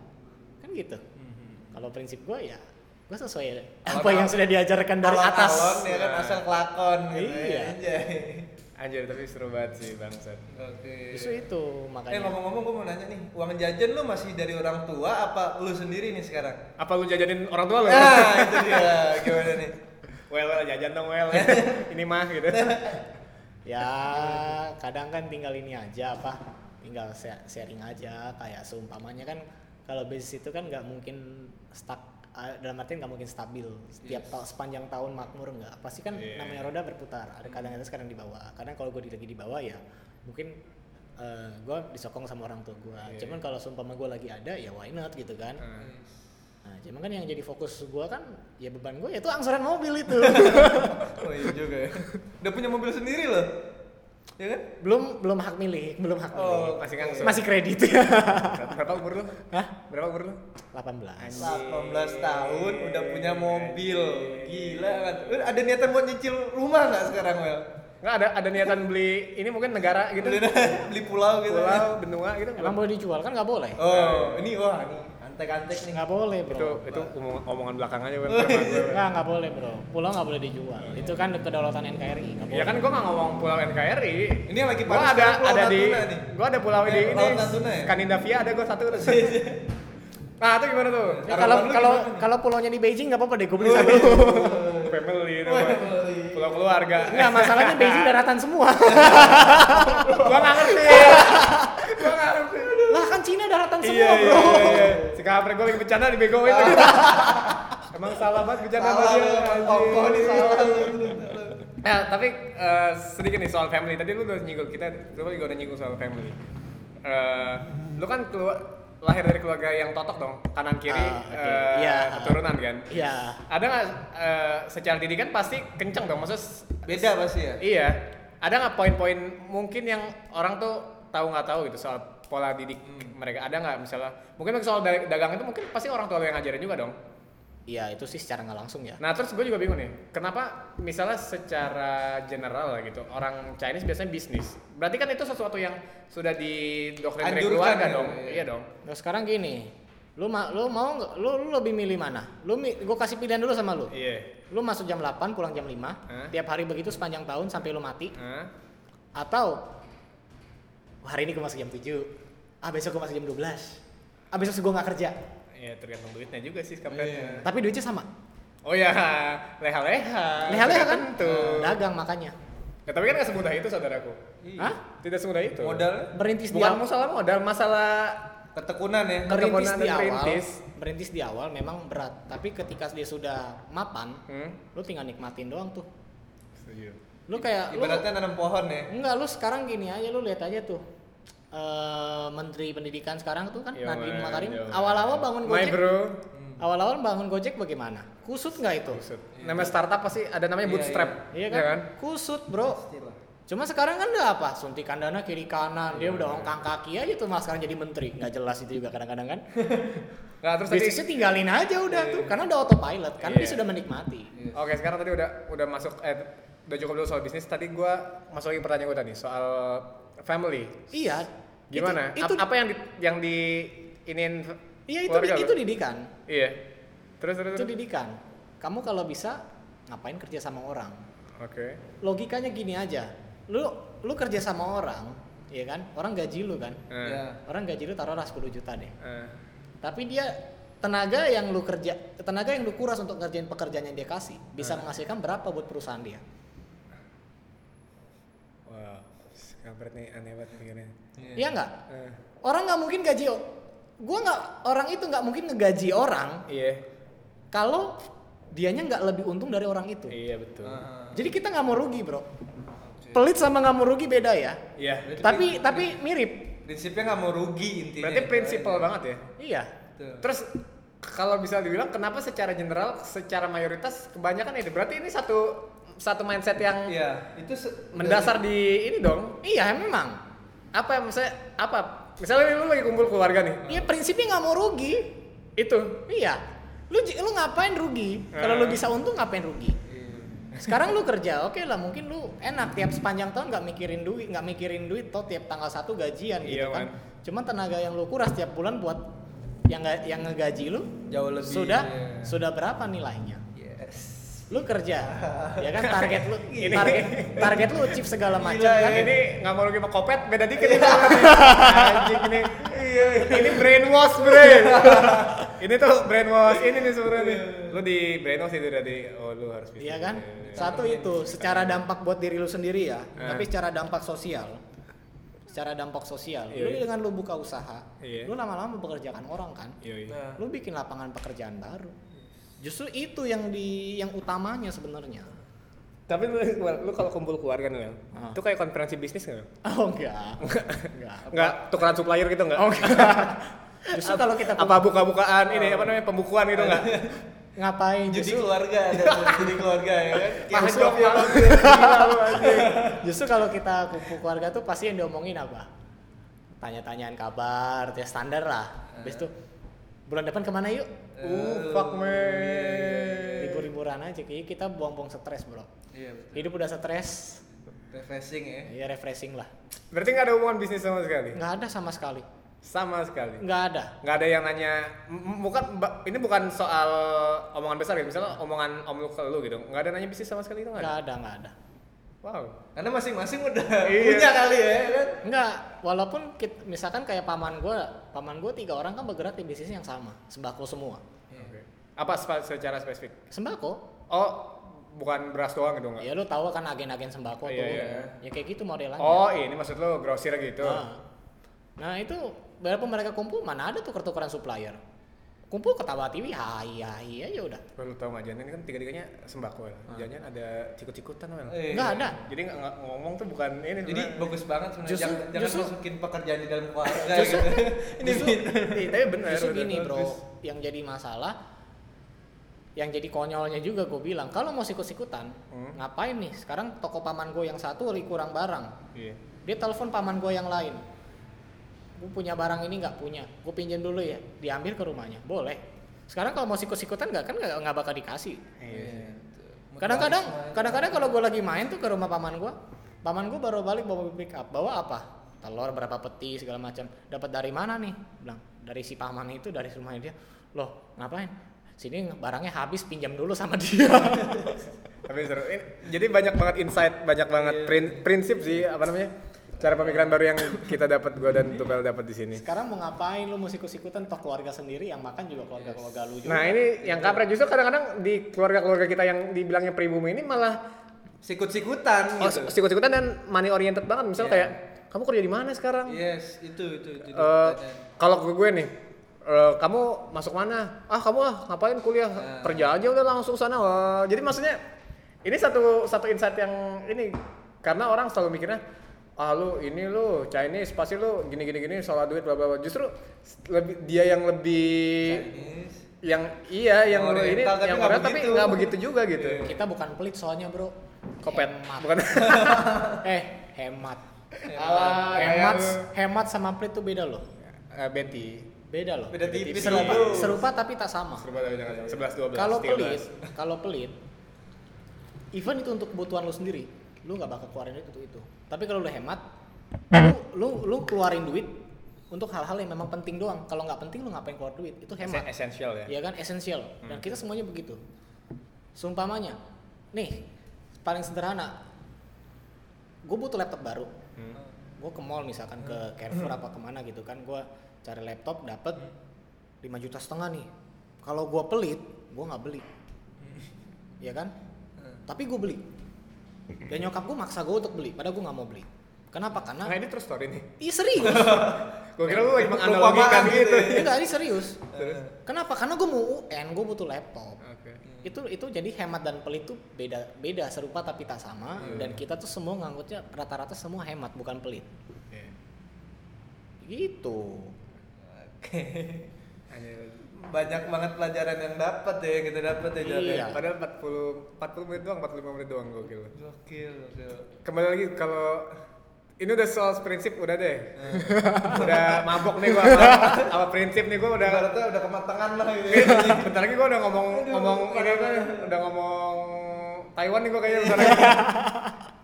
Speaker 3: kan gitu
Speaker 2: Mhm.
Speaker 3: kalau prinsip gue ya gue sesuai apa
Speaker 2: Kalau-
Speaker 3: yang sudah diajarkan dari atas
Speaker 2: Alon-alon ya kan
Speaker 1: Iya.
Speaker 2: asal kelakon gitu.
Speaker 3: Iya.
Speaker 2: ya. Anjay.
Speaker 1: Anjir, tapi seru banget sih bangsat.
Speaker 2: Oke.
Speaker 3: justru itu
Speaker 2: Eh
Speaker 3: makanya
Speaker 2: ngomong-ngomong gue mau nanya nih, uang jajan lu masih dari orang tua apa lu sendiri nih sekarang?
Speaker 1: Apa lu jajanin orang tua lu?
Speaker 2: Nah,
Speaker 3: Ya.
Speaker 2: itu dia. Gimana nih?
Speaker 1: Well, well, jajan dong well. Ini mah gitu.
Speaker 3: ya kadang kan tinggal ini aja apa tinggal sha- sharing aja kayak seumpamanya kan kalau bisnis itu kan nggak mungkin stuck ah, dalam artian nggak mungkin stabil setiap tahun sepanjang tahun makmur nggak pasti kan
Speaker 1: Iya.
Speaker 3: namanya roda berputar ada kadang atas kadang di bawah kadang kalau gue lagi di bawah ya mungkin gue disokong sama orang tua gue
Speaker 1: Iya.
Speaker 3: cuman kalau seumpama gue lagi ada ya why not gitu kan
Speaker 1: Hmm.
Speaker 3: nah cuman kan yang jadi fokus gue kan ya beban gue itu angsuran mobil itu
Speaker 2: Oh iya juga ya. Udah punya mobil sendiri loh. Ya kan?
Speaker 3: belum belum hak milik belum hak milik
Speaker 2: Oh,
Speaker 1: masih
Speaker 2: oke.
Speaker 1: nganggur.
Speaker 3: masih kredit
Speaker 1: Berapa umur lu?
Speaker 3: Hah?
Speaker 1: Berapa umur lu?
Speaker 2: 18
Speaker 3: 18
Speaker 2: tahun udah punya mobil. Gila kan. Lu Ada niatan buat nyicil rumah nggak sekarang, Wel?
Speaker 1: Enggak ada ada niatan beli ini mungkin negara gitu.
Speaker 2: Beli, beli pulau gitu.
Speaker 1: Pulau, benua gitu.
Speaker 3: emang boleh dijual kan nggak boleh
Speaker 2: Oh, ini wah ini antek-antek nih.
Speaker 3: nggak boleh bro
Speaker 1: itu itu omong- omongan belakang aja Bang, sama gue.
Speaker 3: nggak nggak boleh bro pulau nggak boleh dijual itu kan kedaulatan NKRI nggak boleh
Speaker 1: Ya kan gua nggak ngomong pulau NKRI.
Speaker 2: Ini yang lagi
Speaker 1: Gua
Speaker 2: panas
Speaker 1: ada
Speaker 2: sekarang Pulau
Speaker 1: ada di
Speaker 2: Natuna nih.
Speaker 1: gua ada pulau di
Speaker 2: Eh,
Speaker 1: ini.
Speaker 2: Laut Natuna ya? Iya,
Speaker 1: Skandinavia ada gua satu. Nah, itu gimana tuh?
Speaker 3: Ya,
Speaker 2: Harapan lu
Speaker 3: kalau kalau
Speaker 2: gimana nih?
Speaker 3: kalau pulaunya di Beijing nggak apa-apa deh gue beli satu
Speaker 1: Oh. Family itu. Bang. Pulau keluarga.
Speaker 3: nggak masalahnya Beijing daratan semua
Speaker 1: gua nggak ngerti. gua nggak ngerti.
Speaker 3: lah kan Cina daratan
Speaker 1: Iya,
Speaker 3: semua
Speaker 1: iya,
Speaker 3: bro
Speaker 1: iya, iya. Si kampret gua lagi bercanda dibegoin lagi. Emang salah banget bercanda sama
Speaker 2: Ah. Salah,
Speaker 1: dia.
Speaker 2: lu,
Speaker 1: anjing.
Speaker 2: kokoh nih salah. lu.
Speaker 1: Nah, tapi eh, sedikit nih soal family. Tadi lu udah nyinggung kita, lu juga udah nyinggung soal family. Eh, lu kan keluar lahir dari keluarga yang totok dong, kanan kiri
Speaker 3: Ah, oke.
Speaker 1: eh,
Speaker 3: Iya.
Speaker 1: keturunan kan.
Speaker 3: iya
Speaker 1: Ada nggak eh, secara didikan pasti kenceng dong, maksudnya s-
Speaker 2: Beda pasti ya.
Speaker 1: iya. Ada nggak poin-poin mungkin yang orang tuh tahu nggak tahu gitu soal pola didik
Speaker 3: Hmm.
Speaker 1: mereka? Ada nggak misalnya? Mungkin soal da- dagang itu mungkin pasti orang tua lu yang ngajarin juga dong.
Speaker 3: iya itu sih secara nggak langsung ya
Speaker 1: Nah terus gue juga bingung nih, kenapa misalnya secara general gitu orang Chinese biasanya bisnis, berarti kan itu sesuatu yang sudah didoktrin dari
Speaker 2: Anjurkan
Speaker 1: keluarga
Speaker 2: ya,
Speaker 1: dong,
Speaker 2: iya.
Speaker 1: iya dong.
Speaker 3: Nah sekarang gini, lu ma lu mau nggak- lu, lu lebih milih mana? Lu mi- gua kasih pilihan dulu sama lu.
Speaker 1: Iya.
Speaker 3: Lu masuk jam 8, pulang jam 5,
Speaker 1: Hah?
Speaker 3: tiap hari begitu sepanjang tahun sampai lu mati
Speaker 1: Hah?
Speaker 3: atau "Wah, hari ini gua masuk jam 7. Ah besok gua masuk jam 12. Ah besok gua nggak kerja.
Speaker 1: Ya tergantung duitnya juga sih kapan.
Speaker 2: Iya.
Speaker 3: Tapi duitnya sama.
Speaker 1: Oh ya, leha-leha.
Speaker 3: Leha-leha kan?
Speaker 1: Tuh.
Speaker 3: Dagang makanya.
Speaker 1: Ya, tapi kan nggak semudah itu saudaraku.
Speaker 3: Hah?
Speaker 1: Tidak semudah itu.
Speaker 2: Modal
Speaker 3: Berintis di
Speaker 1: Bukan
Speaker 3: awal.
Speaker 1: masalah modal, masalah
Speaker 2: ketekunan ya.
Speaker 3: Berintis di
Speaker 1: dan
Speaker 3: awal.
Speaker 1: perintis.
Speaker 3: Berintis di awal memang berat, tapi ketika dia sudah mapan,
Speaker 1: hmm?
Speaker 3: lu tinggal nikmatin doang tuh.
Speaker 1: Setuju.
Speaker 3: Lu Iya. kayak lu
Speaker 2: Ibaratnya nanam pohon ya.
Speaker 3: Enggak, lu sekarang gini aja, lu lihat aja tuh. eh, Menteri Pendidikan sekarang tuh kan
Speaker 1: Yo,
Speaker 3: Nadiem
Speaker 1: man,
Speaker 3: Makarim
Speaker 1: yo, man.
Speaker 3: awal-awal bangun
Speaker 1: My
Speaker 3: Gojek
Speaker 1: bro.
Speaker 3: awal-awal bangun Gojek bagaimana kusut nggak itu
Speaker 1: Buset. Namanya startup pasti ada namanya
Speaker 2: Iya,
Speaker 1: bootstrap.
Speaker 3: iya kan?
Speaker 1: ya kan?
Speaker 3: kusut bro
Speaker 2: Pastilah.
Speaker 3: cuma sekarang kan udah apa suntikan dana kiri kanan dia udah ongkang kaki aja tuh mas sekarang jadi menteri nggak jelas itu juga kadang-kadang kan
Speaker 1: Nah, terus tadi
Speaker 3: bisnisnya tinggalin aja udah tuh karena udah autopilot karena dia
Speaker 1: Iya.
Speaker 3: sudah menikmati
Speaker 1: Oke, sekarang tadi udah udah masuk eh udah cukup dulu soal bisnis. Tadi gua masuk lagi pertanyaan gua tadi soal family.
Speaker 3: iya Itu-
Speaker 1: Gimana?
Speaker 3: itu,
Speaker 1: Ap- apa yang di yang di inin
Speaker 3: iya itu
Speaker 1: keluarga
Speaker 3: di-
Speaker 1: lu?
Speaker 3: itu didikan
Speaker 1: Iya. Terus terus.
Speaker 3: itu
Speaker 1: terus.
Speaker 3: didikan kamu kalau bisa ngapain kerja sama orang
Speaker 1: Oke.
Speaker 3: logikanya gini aja lu lu kerja sama orang ya kan orang gaji lu kan
Speaker 1: Eh,
Speaker 2: Ya.
Speaker 3: orang gaji lu taruhlah 10 juta deh
Speaker 1: eh.
Speaker 3: tapi dia tenaga yang lu kerja tenaga yang lu kuras untuk ngerjain pekerjaan yang dia kasih bisa menghasilkan berapa buat perusahaan dia
Speaker 1: Wow. Kampret nih aneh banget mikirnya.
Speaker 3: iya nggak
Speaker 1: Eh,
Speaker 3: orang nggak mungkin gaji gua nggak orang itu nggak mungkin ngegaji orang
Speaker 1: iya.
Speaker 3: kalau dianya nggak lebih untung dari orang itu
Speaker 1: Iya betul.
Speaker 2: Ah,
Speaker 3: jadi kita nggak mau rugi bro pelit sama nggak mau rugi beda ya
Speaker 1: Iya.
Speaker 2: Berarti
Speaker 3: tapi tapi mirip
Speaker 2: prinsipnya nggak mau rugi intinya.
Speaker 1: Berarti prinsipal banget ya.
Speaker 3: iya
Speaker 2: Betul.
Speaker 1: Terus kalau bisa dibilang kenapa secara general, secara mayoritas kebanyakan itu berarti ini satu satu mindset yang
Speaker 2: Iya, itu se-
Speaker 1: mendasar di ini dong.
Speaker 3: Iya memang.
Speaker 1: Apa yang misalnya apa? Misalnya lu lagi kumpul keluarga nih.
Speaker 3: Iya prinsipnya nggak mau rugi.
Speaker 1: Itu.
Speaker 3: Iya. Lu j- lu ngapain rugi? Kalau lu
Speaker 1: Eh.
Speaker 3: bisa untung ngapain rugi? Sekarang lu kerja, oke lah mungkin lu enak tiap sepanjang tahun nggak mikirin duit, nggak mikirin duit toh tiap tanggal satu gajian
Speaker 1: Iya,
Speaker 3: gitu kan.
Speaker 1: man.
Speaker 3: Cuman tenaga yang lu kuras tiap bulan buat yang nggak- yang ngegaji lu
Speaker 2: jauh lebih
Speaker 3: sudah
Speaker 2: iya.
Speaker 3: sudah berapa nilainya?
Speaker 2: Yes.
Speaker 3: Lu kerja, ya kan target lu
Speaker 1: Ini-
Speaker 3: target target lu achieve segala
Speaker 2: Gila
Speaker 3: macam
Speaker 1: Kan
Speaker 3: kan.
Speaker 1: ini nggak mau lagi sama kopet beda dikit ini. Anjing nih. Ini brainwash brain. ini tuh brainwash ini nih sebenarnya nih. Lu di brainwash itu udah di oh lu harus bisa.
Speaker 3: Iya kan?
Speaker 1: Iya.
Speaker 3: Satu itu secara dampak buat diri lu sendiri ya,
Speaker 1: Eh.
Speaker 3: tapi secara dampak sosial. Secara dampak sosial.
Speaker 1: Iya,
Speaker 3: Lu
Speaker 1: iya.
Speaker 3: dengan lu buka usaha,
Speaker 1: Iya.
Speaker 3: lu lama-lama mempekerjakan orang kan.
Speaker 1: Iya, iya.
Speaker 2: Nah,
Speaker 3: Lu bikin lapangan pekerjaan baru. Justru itu yang di yang utamanya sebenarnya.
Speaker 1: Tapi lu, lu kalau kumpul keluarga nih, Lel,
Speaker 3: Ah.
Speaker 1: itu kayak konferensi bisnis nggak? Lel?
Speaker 3: Oh enggak. enggak.
Speaker 1: Nggak tukeran supplier gitu nggak?
Speaker 3: Justru kalau kita
Speaker 1: apa buka-bukaan ini apa namanya pembukuan gitu nggak?
Speaker 3: ngapain
Speaker 2: jadi
Speaker 3: justru
Speaker 2: keluarga ada tuh, jadi keluarga ya kan. Kayak
Speaker 1: Pahit
Speaker 2: Sofi
Speaker 1: banget.
Speaker 2: Abdul, gila lu, anjing.
Speaker 3: justru kalau kita kumpul keluarga tuh pasti yang diomongin apa? Tanya-tanyaan kabar, ya standar lah. Habis itu bulan depan kemana yuk?
Speaker 1: Uh, fuck man.
Speaker 3: libur-liburan aja kayaknya kita buang-buang stres bro
Speaker 2: Iya, betul.
Speaker 3: hidup udah stres
Speaker 2: refreshing ya.
Speaker 3: ya refreshing lah
Speaker 1: Berarti nggak ada hubungan bisnis sama sekali?
Speaker 3: nggak ada sama sekali
Speaker 1: Sama sekali.
Speaker 3: nggak ada
Speaker 1: Nggak ada yang nanya, m- m- bukan ba- ini bukan soal omongan besar gitu, misalnya omongan om lu ke lu gitu, nggak ada nanya bisnis sama sekali itu nggak ada.
Speaker 3: nggak ada nggak ada
Speaker 1: Wow.
Speaker 2: Karena masing-masing udah
Speaker 1: Iya.
Speaker 2: punya kali ya kan.
Speaker 3: nggak walaupun kit- misalkan kayak paman gue paman gue tiga orang kan bergerak di bisnis yang sama sembako semua
Speaker 2: Iya.
Speaker 1: Oke. Apa spa- secara spesifik?
Speaker 3: sembako
Speaker 1: Oh, bukan beras doang gitu nggak?
Speaker 3: ya lu tahu kan agen-agen sembako
Speaker 1: Iya,
Speaker 3: tuh
Speaker 1: iya.
Speaker 3: ya kayak gitu modelannya
Speaker 1: Oh, ini maksud lu grosir gitu.
Speaker 3: nah, nah itu berapa mereka kumpul mana ada tuh tukeran supplier kumpul ketawa TV hai hai aja udah
Speaker 1: Wah, Lu tau nggak Jan, ini kan tiga-tiganya sembako ya. Jangan ada cikut-cikutan Wel.
Speaker 2: Iya.
Speaker 3: nggak Ah. Eh, ada
Speaker 1: Jadi nggak nggak- ngomong tuh bukan ini.
Speaker 2: Jadi
Speaker 1: sebenarnya.
Speaker 2: bagus banget sebenarnya.
Speaker 3: Justru-
Speaker 2: Jangan, jangan
Speaker 3: justru-
Speaker 2: masukin pekerjaan di dalam keluarga
Speaker 3: Justru-
Speaker 2: gitu. Ini
Speaker 3: justru,
Speaker 2: min-
Speaker 1: Iya, tapi benar.
Speaker 3: justru
Speaker 1: benar,
Speaker 3: gini bro,
Speaker 1: bagus.
Speaker 3: yang jadi masalah, yang jadi konyolnya juga gue bilang, kalau mau sikut-sikutan,
Speaker 1: Hmm.
Speaker 3: ngapain nih? Sekarang toko paman gue yang satu lagi kurang barang,
Speaker 1: Iya.
Speaker 3: dia telepon paman gue yang lain, gue punya barang ini nggak punya, gue pinjam dulu ya, diambil ke rumahnya, boleh. Sekarang kalau mau sikut-sikutan nggak kan nggak nggak bakal dikasih.
Speaker 1: Iya.
Speaker 3: Kadang-kadang, kadang-kadang kalau gue lagi main tuh ke rumah paman gue, paman gue baru balik bawa pick up, bawa apa? Telur berapa peti segala macam. Dapat dari mana nih? Bilang dari si paman itu dari rumahnya dia. Loh ngapain? Sini barangnya habis pinjam dulu sama dia.
Speaker 1: Tapi seru. Ini- jadi banyak banget insight, banyak banget prin- prinsip sih apa namanya? Cara pemikiran baru yang kita dapat gua dan Tupel dapat di sini.
Speaker 3: Sekarang mau ngapain lu mau sikut-sikutan toh keluarga sendiri yang makan juga keluarga-keluarga lu juga.
Speaker 1: Nah, ini yang kampret justru kadang-kadang di keluarga-keluarga kita yang dibilangnya pribumi ini malah
Speaker 2: sikut-sikutan
Speaker 1: oh,
Speaker 2: gitu.
Speaker 1: sikut-sikutan dan money oriented banget. Misal
Speaker 2: Iya.
Speaker 1: kayak kamu kerja di mana sekarang?
Speaker 2: Yes, itu itu
Speaker 1: Eh,
Speaker 2: itu. itu pertanyaan.
Speaker 1: kalau ke gue nih eh, kamu masuk mana? Ah kamu ah ngapain kuliah?
Speaker 2: Nah.
Speaker 1: Kerja aja udah langsung sana. Wah, jadi maksudnya ini satu satu insight yang ini karena orang selalu mikirnya ah lu ini lu Chinese pasti lu gini gini gini salah duit bla bla bla justru s- lebih dia yang lebih
Speaker 2: Chinese.
Speaker 1: yang iya yang lu ini
Speaker 2: Oriental, tapi
Speaker 1: yang
Speaker 2: nggak
Speaker 1: orang tapi
Speaker 2: begitu.
Speaker 1: nggak begitu juga gitu
Speaker 2: Iya.
Speaker 3: Kita bukan pelit soalnya bro.
Speaker 1: kopet
Speaker 3: Hemat.
Speaker 1: bukan
Speaker 3: eh hemat.
Speaker 1: Alah,
Speaker 3: hemat,
Speaker 1: kayak lu.
Speaker 3: hemat sama pelit tuh beda loh.
Speaker 1: Eh, Betty
Speaker 3: Beda loh.
Speaker 2: Beda tipis
Speaker 3: Serupa,
Speaker 2: gitu.
Speaker 3: serupa tapi tak sama.
Speaker 1: sebelas dua belas
Speaker 3: Kalau pelit, kalau pelit, even itu untuk kebutuhan lu sendiri, lu nggak bakal keluarin duit untuk itu. Tapi kalau lu hemat, lu, lu lu keluarin duit untuk hal-hal yang memang penting doang. Kalau nggak penting lu ngapain keluar duit? Itu hemat.
Speaker 1: esensial ya
Speaker 3: ya kan esensial dan kita semuanya begitu seumpamanya nih paling sederhana gue butuh laptop baru
Speaker 1: Hmm.
Speaker 3: gue ke mall misalkan ke Carrefour apa kemana gitu kan gue cari laptop dapet 5 juta setengah nih kalau gue pelit gue nggak beli ya kan tapi gue beli dan nyokap gue maksa gue untuk beli padahal gue nggak mau beli kenapa karena
Speaker 1: nah ini terus story nih
Speaker 3: Ih serius
Speaker 2: Iya.
Speaker 1: gue kira lu lagi
Speaker 2: Perumpamaan
Speaker 1: menganalogikan
Speaker 2: gitu
Speaker 1: gitu
Speaker 2: ya.
Speaker 3: enggak ini serius
Speaker 1: Terus?
Speaker 3: kenapa karena gue mau UN gue butuh laptop
Speaker 1: oke
Speaker 3: Hmm. itu itu jadi hemat dan pelit tuh beda beda serupa tapi tak sama
Speaker 2: Hmm.
Speaker 3: dan kita tuh semua ngangkutnya rata-rata semua hemat bukan pelit
Speaker 1: Iya.
Speaker 3: gitu
Speaker 2: Oke.
Speaker 1: Anjir.
Speaker 2: Banyak banget pelajaran yang dapat ya yang kita dapat ya Jal, ya.
Speaker 3: Iya.
Speaker 1: Nah, Padahal 40 40 menit doang, 45 menit doang gokil.
Speaker 2: Gokil, gokil.
Speaker 1: Kembali lagi kalau ini udah soal prinsip udah deh. udah mabok nih gua sama, sama prinsip nih gua udah
Speaker 2: Ibaratnya udah kematangan lah gitu. ya.
Speaker 1: bentar lagi gua udah ngomong
Speaker 2: Aduh,
Speaker 1: ngomong ini apa ya, udah ngomong Taiwan nih gua kayaknya bentar lagi.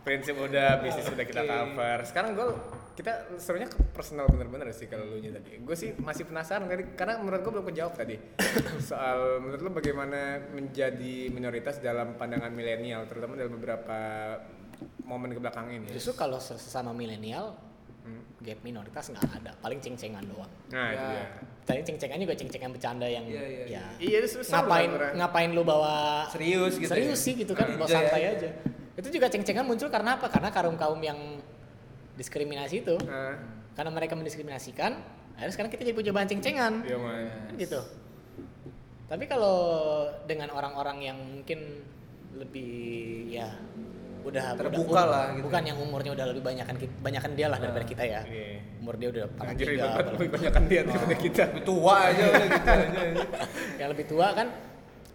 Speaker 1: prinsip udah, bisnis udah kita
Speaker 2: Oke.
Speaker 1: cover. Sekarang gua kita serunya ke personal bener-bener sih kalau lu nya tadi. Gue sih masih penasaran tadi karena menurut gue belum kejawab tadi soal menurut lu bagaimana menjadi minoritas dalam pandangan milenial terutama dalam beberapa momen kebelakang ini. Hmm.
Speaker 3: justru kalau ses- sesama milenial gap minoritas nggak ada paling ceng-cengan doang
Speaker 1: Nah itu
Speaker 2: Ya.
Speaker 1: dia.
Speaker 3: tadi ceng-cengan juga ceng-cengan bercanda yang
Speaker 2: Iya, iya, kan,
Speaker 3: ya
Speaker 1: Iya itu susah.
Speaker 3: ngapain
Speaker 1: bener-bener.
Speaker 3: ngapain lu bawa
Speaker 2: Serius gitu.
Speaker 3: serius
Speaker 2: ya.
Speaker 3: sih gitu kan
Speaker 2: Enjoy
Speaker 3: bawa santai aja itu juga ceng-cengan muncul karena apa karena kaum kaum yang diskriminasi itu
Speaker 1: Nah,
Speaker 3: karena mereka mendiskriminasikan akhirnya sekarang kita jadi punya bahan ceng-cengan
Speaker 1: iya man.
Speaker 2: Ya.
Speaker 3: gitu. Tapi kalau dengan orang-orang yang mungkin lebih ya udah udah-
Speaker 2: Terbuka lah gitu.
Speaker 3: Bukan yang umurnya udah lebih banyakan ki- banyakan dia lah daripada kita ya.
Speaker 1: Iya.
Speaker 3: Umur dia udah
Speaker 1: Anjir
Speaker 3: 43,
Speaker 1: ribet banget
Speaker 3: berapa.
Speaker 1: lebih banyak kan dia daripada
Speaker 2: Oh.
Speaker 1: kita.
Speaker 2: Tua aja udah gitu aja.
Speaker 3: yang lebih tua kan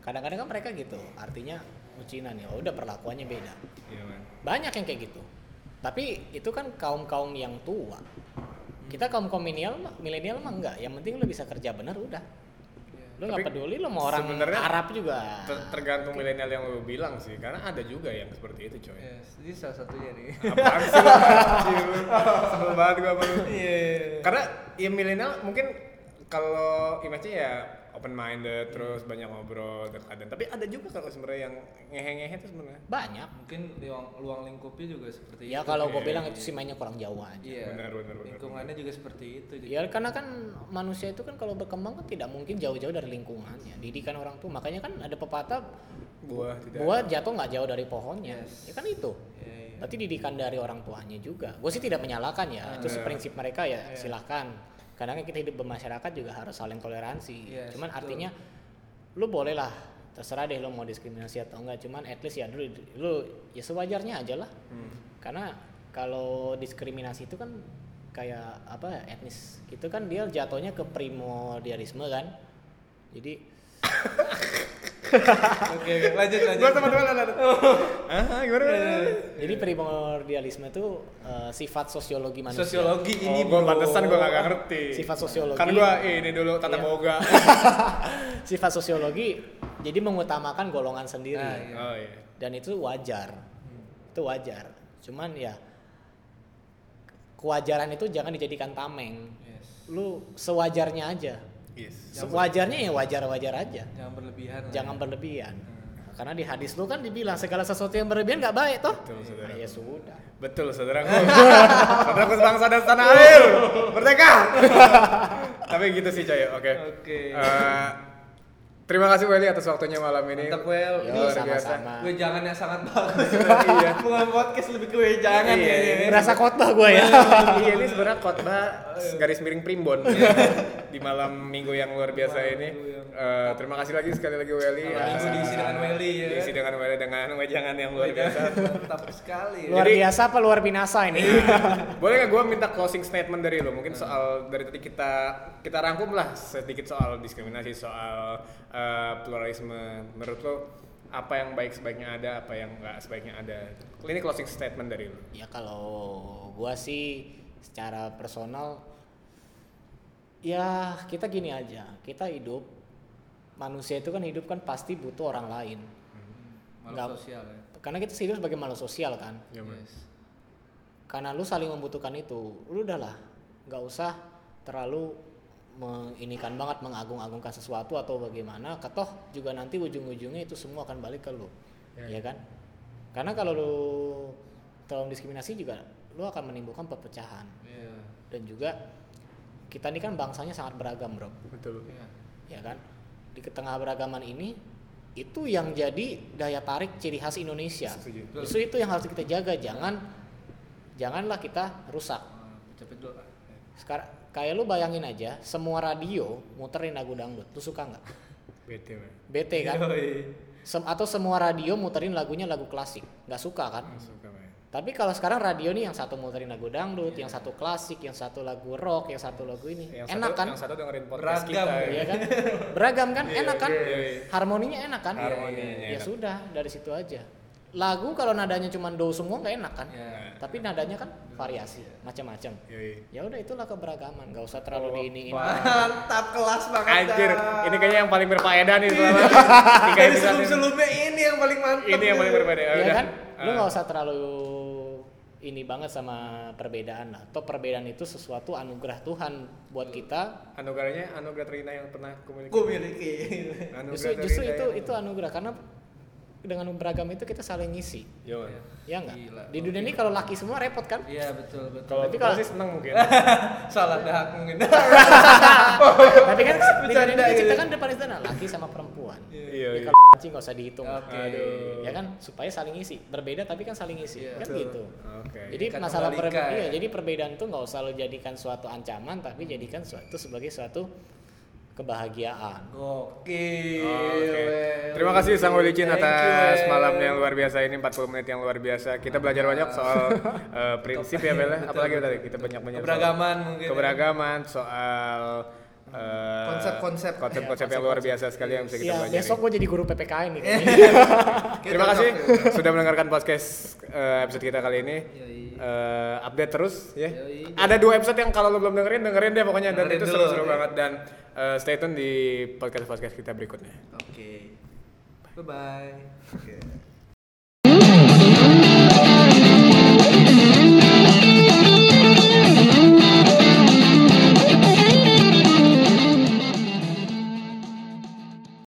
Speaker 3: kadang-kadang kan mereka gitu. Artinya oh Cina nih, oh udah perlakuannya beda.
Speaker 1: Iya man.
Speaker 3: Banyak yang kayak gitu. Tapi itu kan kaum-kaum yang tua. Kita kaum kaum milenial mah- milenial mah enggak. Yang penting lu bisa kerja bener udah.
Speaker 1: Tapi
Speaker 3: Lu nggak peduli lu mau orang
Speaker 1: sebenarnya
Speaker 3: Arab juga.
Speaker 1: Ter- tergantung milenial yang lu bilang sih karena ada juga yang seperti itu coy
Speaker 2: Yes, ini salah satunya nih.
Speaker 1: apaan sih lu anjir lu? sebel banget gua sama lu
Speaker 2: Iya.
Speaker 1: karena ya milenial mungkin kalau image ya open minded terus banyak ngobrol dan tapi ada juga kalau sebenarnya yang ngehe-ngehe itu sebenarnya
Speaker 3: banyak
Speaker 2: Mungkin luang, luang lingkupnya juga seperti
Speaker 3: ya
Speaker 2: itu.
Speaker 3: kalau gue
Speaker 1: iya.
Speaker 3: bilang itu sih mainnya kurang jauh aja
Speaker 2: Iya.
Speaker 1: Benar, benar, benar. Iya.
Speaker 2: Lingkungannya juga seperti itu. jadi-
Speaker 3: ya karena kan manusia itu kan kalau berkembang kan tidak mungkin jauh-jauh dari lingkungannya didikan orang tua makanya kan ada pepatah
Speaker 1: buah tidak
Speaker 3: buah jatuh nggak jauh dari pohonnya
Speaker 2: Yes.
Speaker 3: ya kan itu
Speaker 2: Iya, iya.
Speaker 3: berarti didikan dari orang tuanya juga gue sih tidak menyalahkan ya itu sih
Speaker 1: Iya.
Speaker 3: prinsip mereka ya silahkan kadang kan kita hidup bermasyarakat juga harus saling toleransi
Speaker 2: Yes,
Speaker 3: cuman
Speaker 2: betul.
Speaker 3: artinya lu boleh lah terserah deh lu mau diskriminasi atau enggak cuman at least ya dulu lu ya sewajarnya aja lah karena kalau diskriminasi itu kan kayak apa ya, etnis itu kan dia jatuhnya ke primordialisme kan jadi
Speaker 2: Oke, oke, lanjut lanjut.
Speaker 1: gua sama teman ada
Speaker 2: Oh.
Speaker 1: ah gimana
Speaker 2: Iya,
Speaker 3: jadi primordialisme itu eh, sifat sosiologi manusia
Speaker 2: Sosiologi
Speaker 1: ini
Speaker 2: ini
Speaker 1: oh, gua
Speaker 2: bro.
Speaker 1: pantesan gua gak ngerti
Speaker 3: Sifat sosiologi.
Speaker 1: kan gua ini dulu tata
Speaker 3: Iya.
Speaker 1: boga
Speaker 3: sifat sosiologi jadi mengutamakan golongan sendiri
Speaker 2: Ah, iya.
Speaker 1: oh iya
Speaker 3: dan itu wajar itu wajar cuman ya kewajaran itu jangan dijadikan tameng
Speaker 2: Yes.
Speaker 3: lu sewajarnya aja
Speaker 1: yes
Speaker 3: sewajarnya ya wajar-wajar aja
Speaker 2: Jangan berlebihan. lah.
Speaker 3: jangan berlebihan karena di hadis lu kan dibilang segala sesuatu yang berlebihan nggak baik toh
Speaker 1: Betul, saudara.
Speaker 3: Nah, ya sudah
Speaker 1: Betul saudaraku. saudaraku sebangsa dan tanah air. Merdeka. Tapi gitu sih Coy. Oke.
Speaker 2: Oke.
Speaker 1: Eh, terima kasih Welly atas waktunya malam ini.
Speaker 2: Mantap, Wel.
Speaker 3: Yo,
Speaker 1: Luar biasa.
Speaker 3: sama-sama.
Speaker 2: Gue jangan yang sangat bagus.
Speaker 1: Iya.
Speaker 2: Bukan podcast lebih ke gue jangan
Speaker 1: Iya,
Speaker 2: ya.
Speaker 1: iya.
Speaker 2: ya.
Speaker 3: merasa khotbah gue ya
Speaker 1: iya ini sebenarnya khotbah garis miring primbon di ya, malam minggu yang luar biasa ini.
Speaker 2: Minggu yang
Speaker 1: eh, terima kasih lagi sekali lagi Welly.
Speaker 2: Awal minggu
Speaker 1: atas-
Speaker 2: diisi dengan Welly, ya kan?
Speaker 1: Diisi dengan Welly dengan wejangan yang luar biasa.
Speaker 2: Mantap sekali.
Speaker 3: Luar
Speaker 1: Jadi-
Speaker 3: biasa apa luar binasa ini?
Speaker 1: Boleh nggak gue minta closing statement dari lo? Mungkin soal dari tadi kita kita rangkum lah sedikit soal diskriminasi, soal eh, pluralisme. Menurut lo apa yang baik sebaiknya ada, apa yang nggak sebaiknya ada? Ini closing statement dari lo.
Speaker 3: ya kalau gua sih secara personal ya kita gini aja, kita hidup manusia itu kan hidup kan pasti butuh orang lain. Nggak-
Speaker 2: Malu sosial ya.
Speaker 3: Karena kita hidup sebagai makhluk sosial kan.
Speaker 1: Ya, Mas.
Speaker 2: Yes.
Speaker 3: karena lu saling membutuhkan itu lu udahlah nggak usah terlalu menginikan banget mengagung-agungkan sesuatu atau bagaimana ketoh juga nanti ujung-ujungnya itu semua akan balik ke lu
Speaker 1: Ya.
Speaker 3: ya, kan karena kalau lu terlalu diskriminasi juga lu akan menimbulkan perpecahan
Speaker 2: Iya.
Speaker 3: dan juga kita ini kan bangsanya sangat beragam bro
Speaker 1: Betul.
Speaker 2: Iya.
Speaker 3: ya kan di ketengah beragaman ini itu yang jadi daya tarik ciri khas Indonesia
Speaker 1: Setuju.
Speaker 3: justru itu yang harus kita jaga jangan janganlah kita rusak
Speaker 2: Ah, Cepet dulu. ah.
Speaker 3: sekarang kayak lu bayangin aja semua radio muterin lagu dangdut lu suka nggak
Speaker 1: Bete, Mas.
Speaker 3: bete
Speaker 1: Iya.
Speaker 3: kan
Speaker 2: Yoi.
Speaker 3: Sem- atau semua radio muterin lagunya lagu klasik nggak suka kan
Speaker 1: Suka, Mas.
Speaker 3: tapi kalau sekarang radio nih yang satu muterin lagu dangdut yang satu klasik yang satu lagu rock yang satu lagu ini
Speaker 1: Yang
Speaker 3: enak
Speaker 1: satu,
Speaker 3: kan
Speaker 1: Yang satu dengerin podcast
Speaker 2: Beragam,
Speaker 1: kita. ya.
Speaker 3: Iya kan? Beragam kan?
Speaker 1: Iya,
Speaker 3: Enak kan?
Speaker 1: iya, iya.
Speaker 3: Harmoninya enak kan?
Speaker 1: Harmoninya
Speaker 3: Ya
Speaker 1: enak.
Speaker 3: sudah, dari situ aja. Lagu kalau nadanya cuma do semua nggak enak kan?
Speaker 2: Iya.
Speaker 3: Tapi nadanya kan variasi,
Speaker 1: Iya.
Speaker 3: macam-macam.
Speaker 1: Yoi.
Speaker 3: Ya udah itulah keberagaman, nggak usah terlalu
Speaker 1: Oh,
Speaker 3: diiniin.
Speaker 2: Mantap kelas banget.
Speaker 1: Anjir,
Speaker 2: dah.
Speaker 1: ini kayaknya yang paling berfaedah nih selama tiga
Speaker 2: dari
Speaker 1: episode ini.
Speaker 2: sebelum-sebelumnya ini yang paling mantap.
Speaker 1: Ini yang paling berfaedah.
Speaker 3: Ya
Speaker 1: udah.
Speaker 3: kan? Lu
Speaker 1: Ah.
Speaker 3: nggak usah terlalu ini banget sama perbedaan lah. Atau perbedaan itu sesuatu anugerah Tuhan buat kita.
Speaker 1: anugerahnya anugerah terina yang pernah kumiliki.
Speaker 2: Gue miliki.
Speaker 1: Anugerah ya.
Speaker 3: Justru,
Speaker 1: Trinita
Speaker 3: justru itu
Speaker 1: yang-
Speaker 3: itu anugerah karena dengan beragam itu kita saling ngisi.
Speaker 1: Yo, man.
Speaker 3: Ya enggak?
Speaker 2: Gila,
Speaker 3: Di dunia ini kalau laki semua repot kan?
Speaker 2: Iya betul betul.
Speaker 1: Kalau
Speaker 3: Tapi
Speaker 1: kalau
Speaker 3: kalau-
Speaker 1: sih seneng mungkin.
Speaker 2: Salah dahak mungkin.
Speaker 3: Tapi kan di dunia
Speaker 2: Bercanda
Speaker 3: ini
Speaker 2: gitu.
Speaker 3: diciptakan depan istana laki sama perempuan.
Speaker 1: Iya,
Speaker 3: Ya
Speaker 1: iya.
Speaker 3: kalau anjing nggak usah dihitung.
Speaker 2: Oke.
Speaker 1: Aduh.
Speaker 3: Ya kan supaya saling isi. Berbeda tapi kan saling isi.
Speaker 2: Iya,
Speaker 3: kan
Speaker 2: betul.
Speaker 3: gitu.
Speaker 1: Oke.
Speaker 3: Jadi
Speaker 2: Ikat
Speaker 3: masalah
Speaker 2: kembalikan. ya.
Speaker 3: perbedaan iya, jadi perbedaan tuh nggak usah lo jadikan suatu ancaman tapi jadikan suatu sebagai suatu kebahagiaan.
Speaker 1: Oke.
Speaker 2: Gokil. Wel.
Speaker 1: Oh, Terima kasih Sang Olicin
Speaker 2: Iya, Thank you,
Speaker 1: atas
Speaker 2: Wel.
Speaker 1: malamnya yang luar biasa ini 40 menit yang luar biasa. Kita belajar banyak soal eh, prinsip ya Bella.
Speaker 2: Betul,
Speaker 1: Apalagi
Speaker 2: betul,
Speaker 1: tadi
Speaker 2: betul.
Speaker 1: kita banyak banyak
Speaker 2: Keberagaman mungkin. ya.
Speaker 1: keberagaman soal eh,
Speaker 2: Konsep-konsep.
Speaker 1: konsep-konsep
Speaker 3: Iya,
Speaker 1: yang luar biasa sekali yang bisa kita
Speaker 3: Iya,
Speaker 1: pelajari.
Speaker 2: ya.
Speaker 3: besok gue jadi guru PPKN nih.
Speaker 2: Oke,
Speaker 1: Terima
Speaker 2: cocok,
Speaker 1: kasih
Speaker 2: Wel.
Speaker 1: sudah mendengarkan podcast eh, episode kita kali ini.
Speaker 2: Yoi.
Speaker 1: Eh, update terus ya.
Speaker 2: Yoi.
Speaker 1: Ada dua episode yang kalau lo belum dengerin dengerin deh pokoknya dan
Speaker 2: Dengerin
Speaker 1: itu
Speaker 2: dulu,
Speaker 1: seru-seru
Speaker 2: ya.
Speaker 1: banget dan eh, stay tune di podcast podcast kita berikutnya.
Speaker 2: Oke. Bye bye. Oke.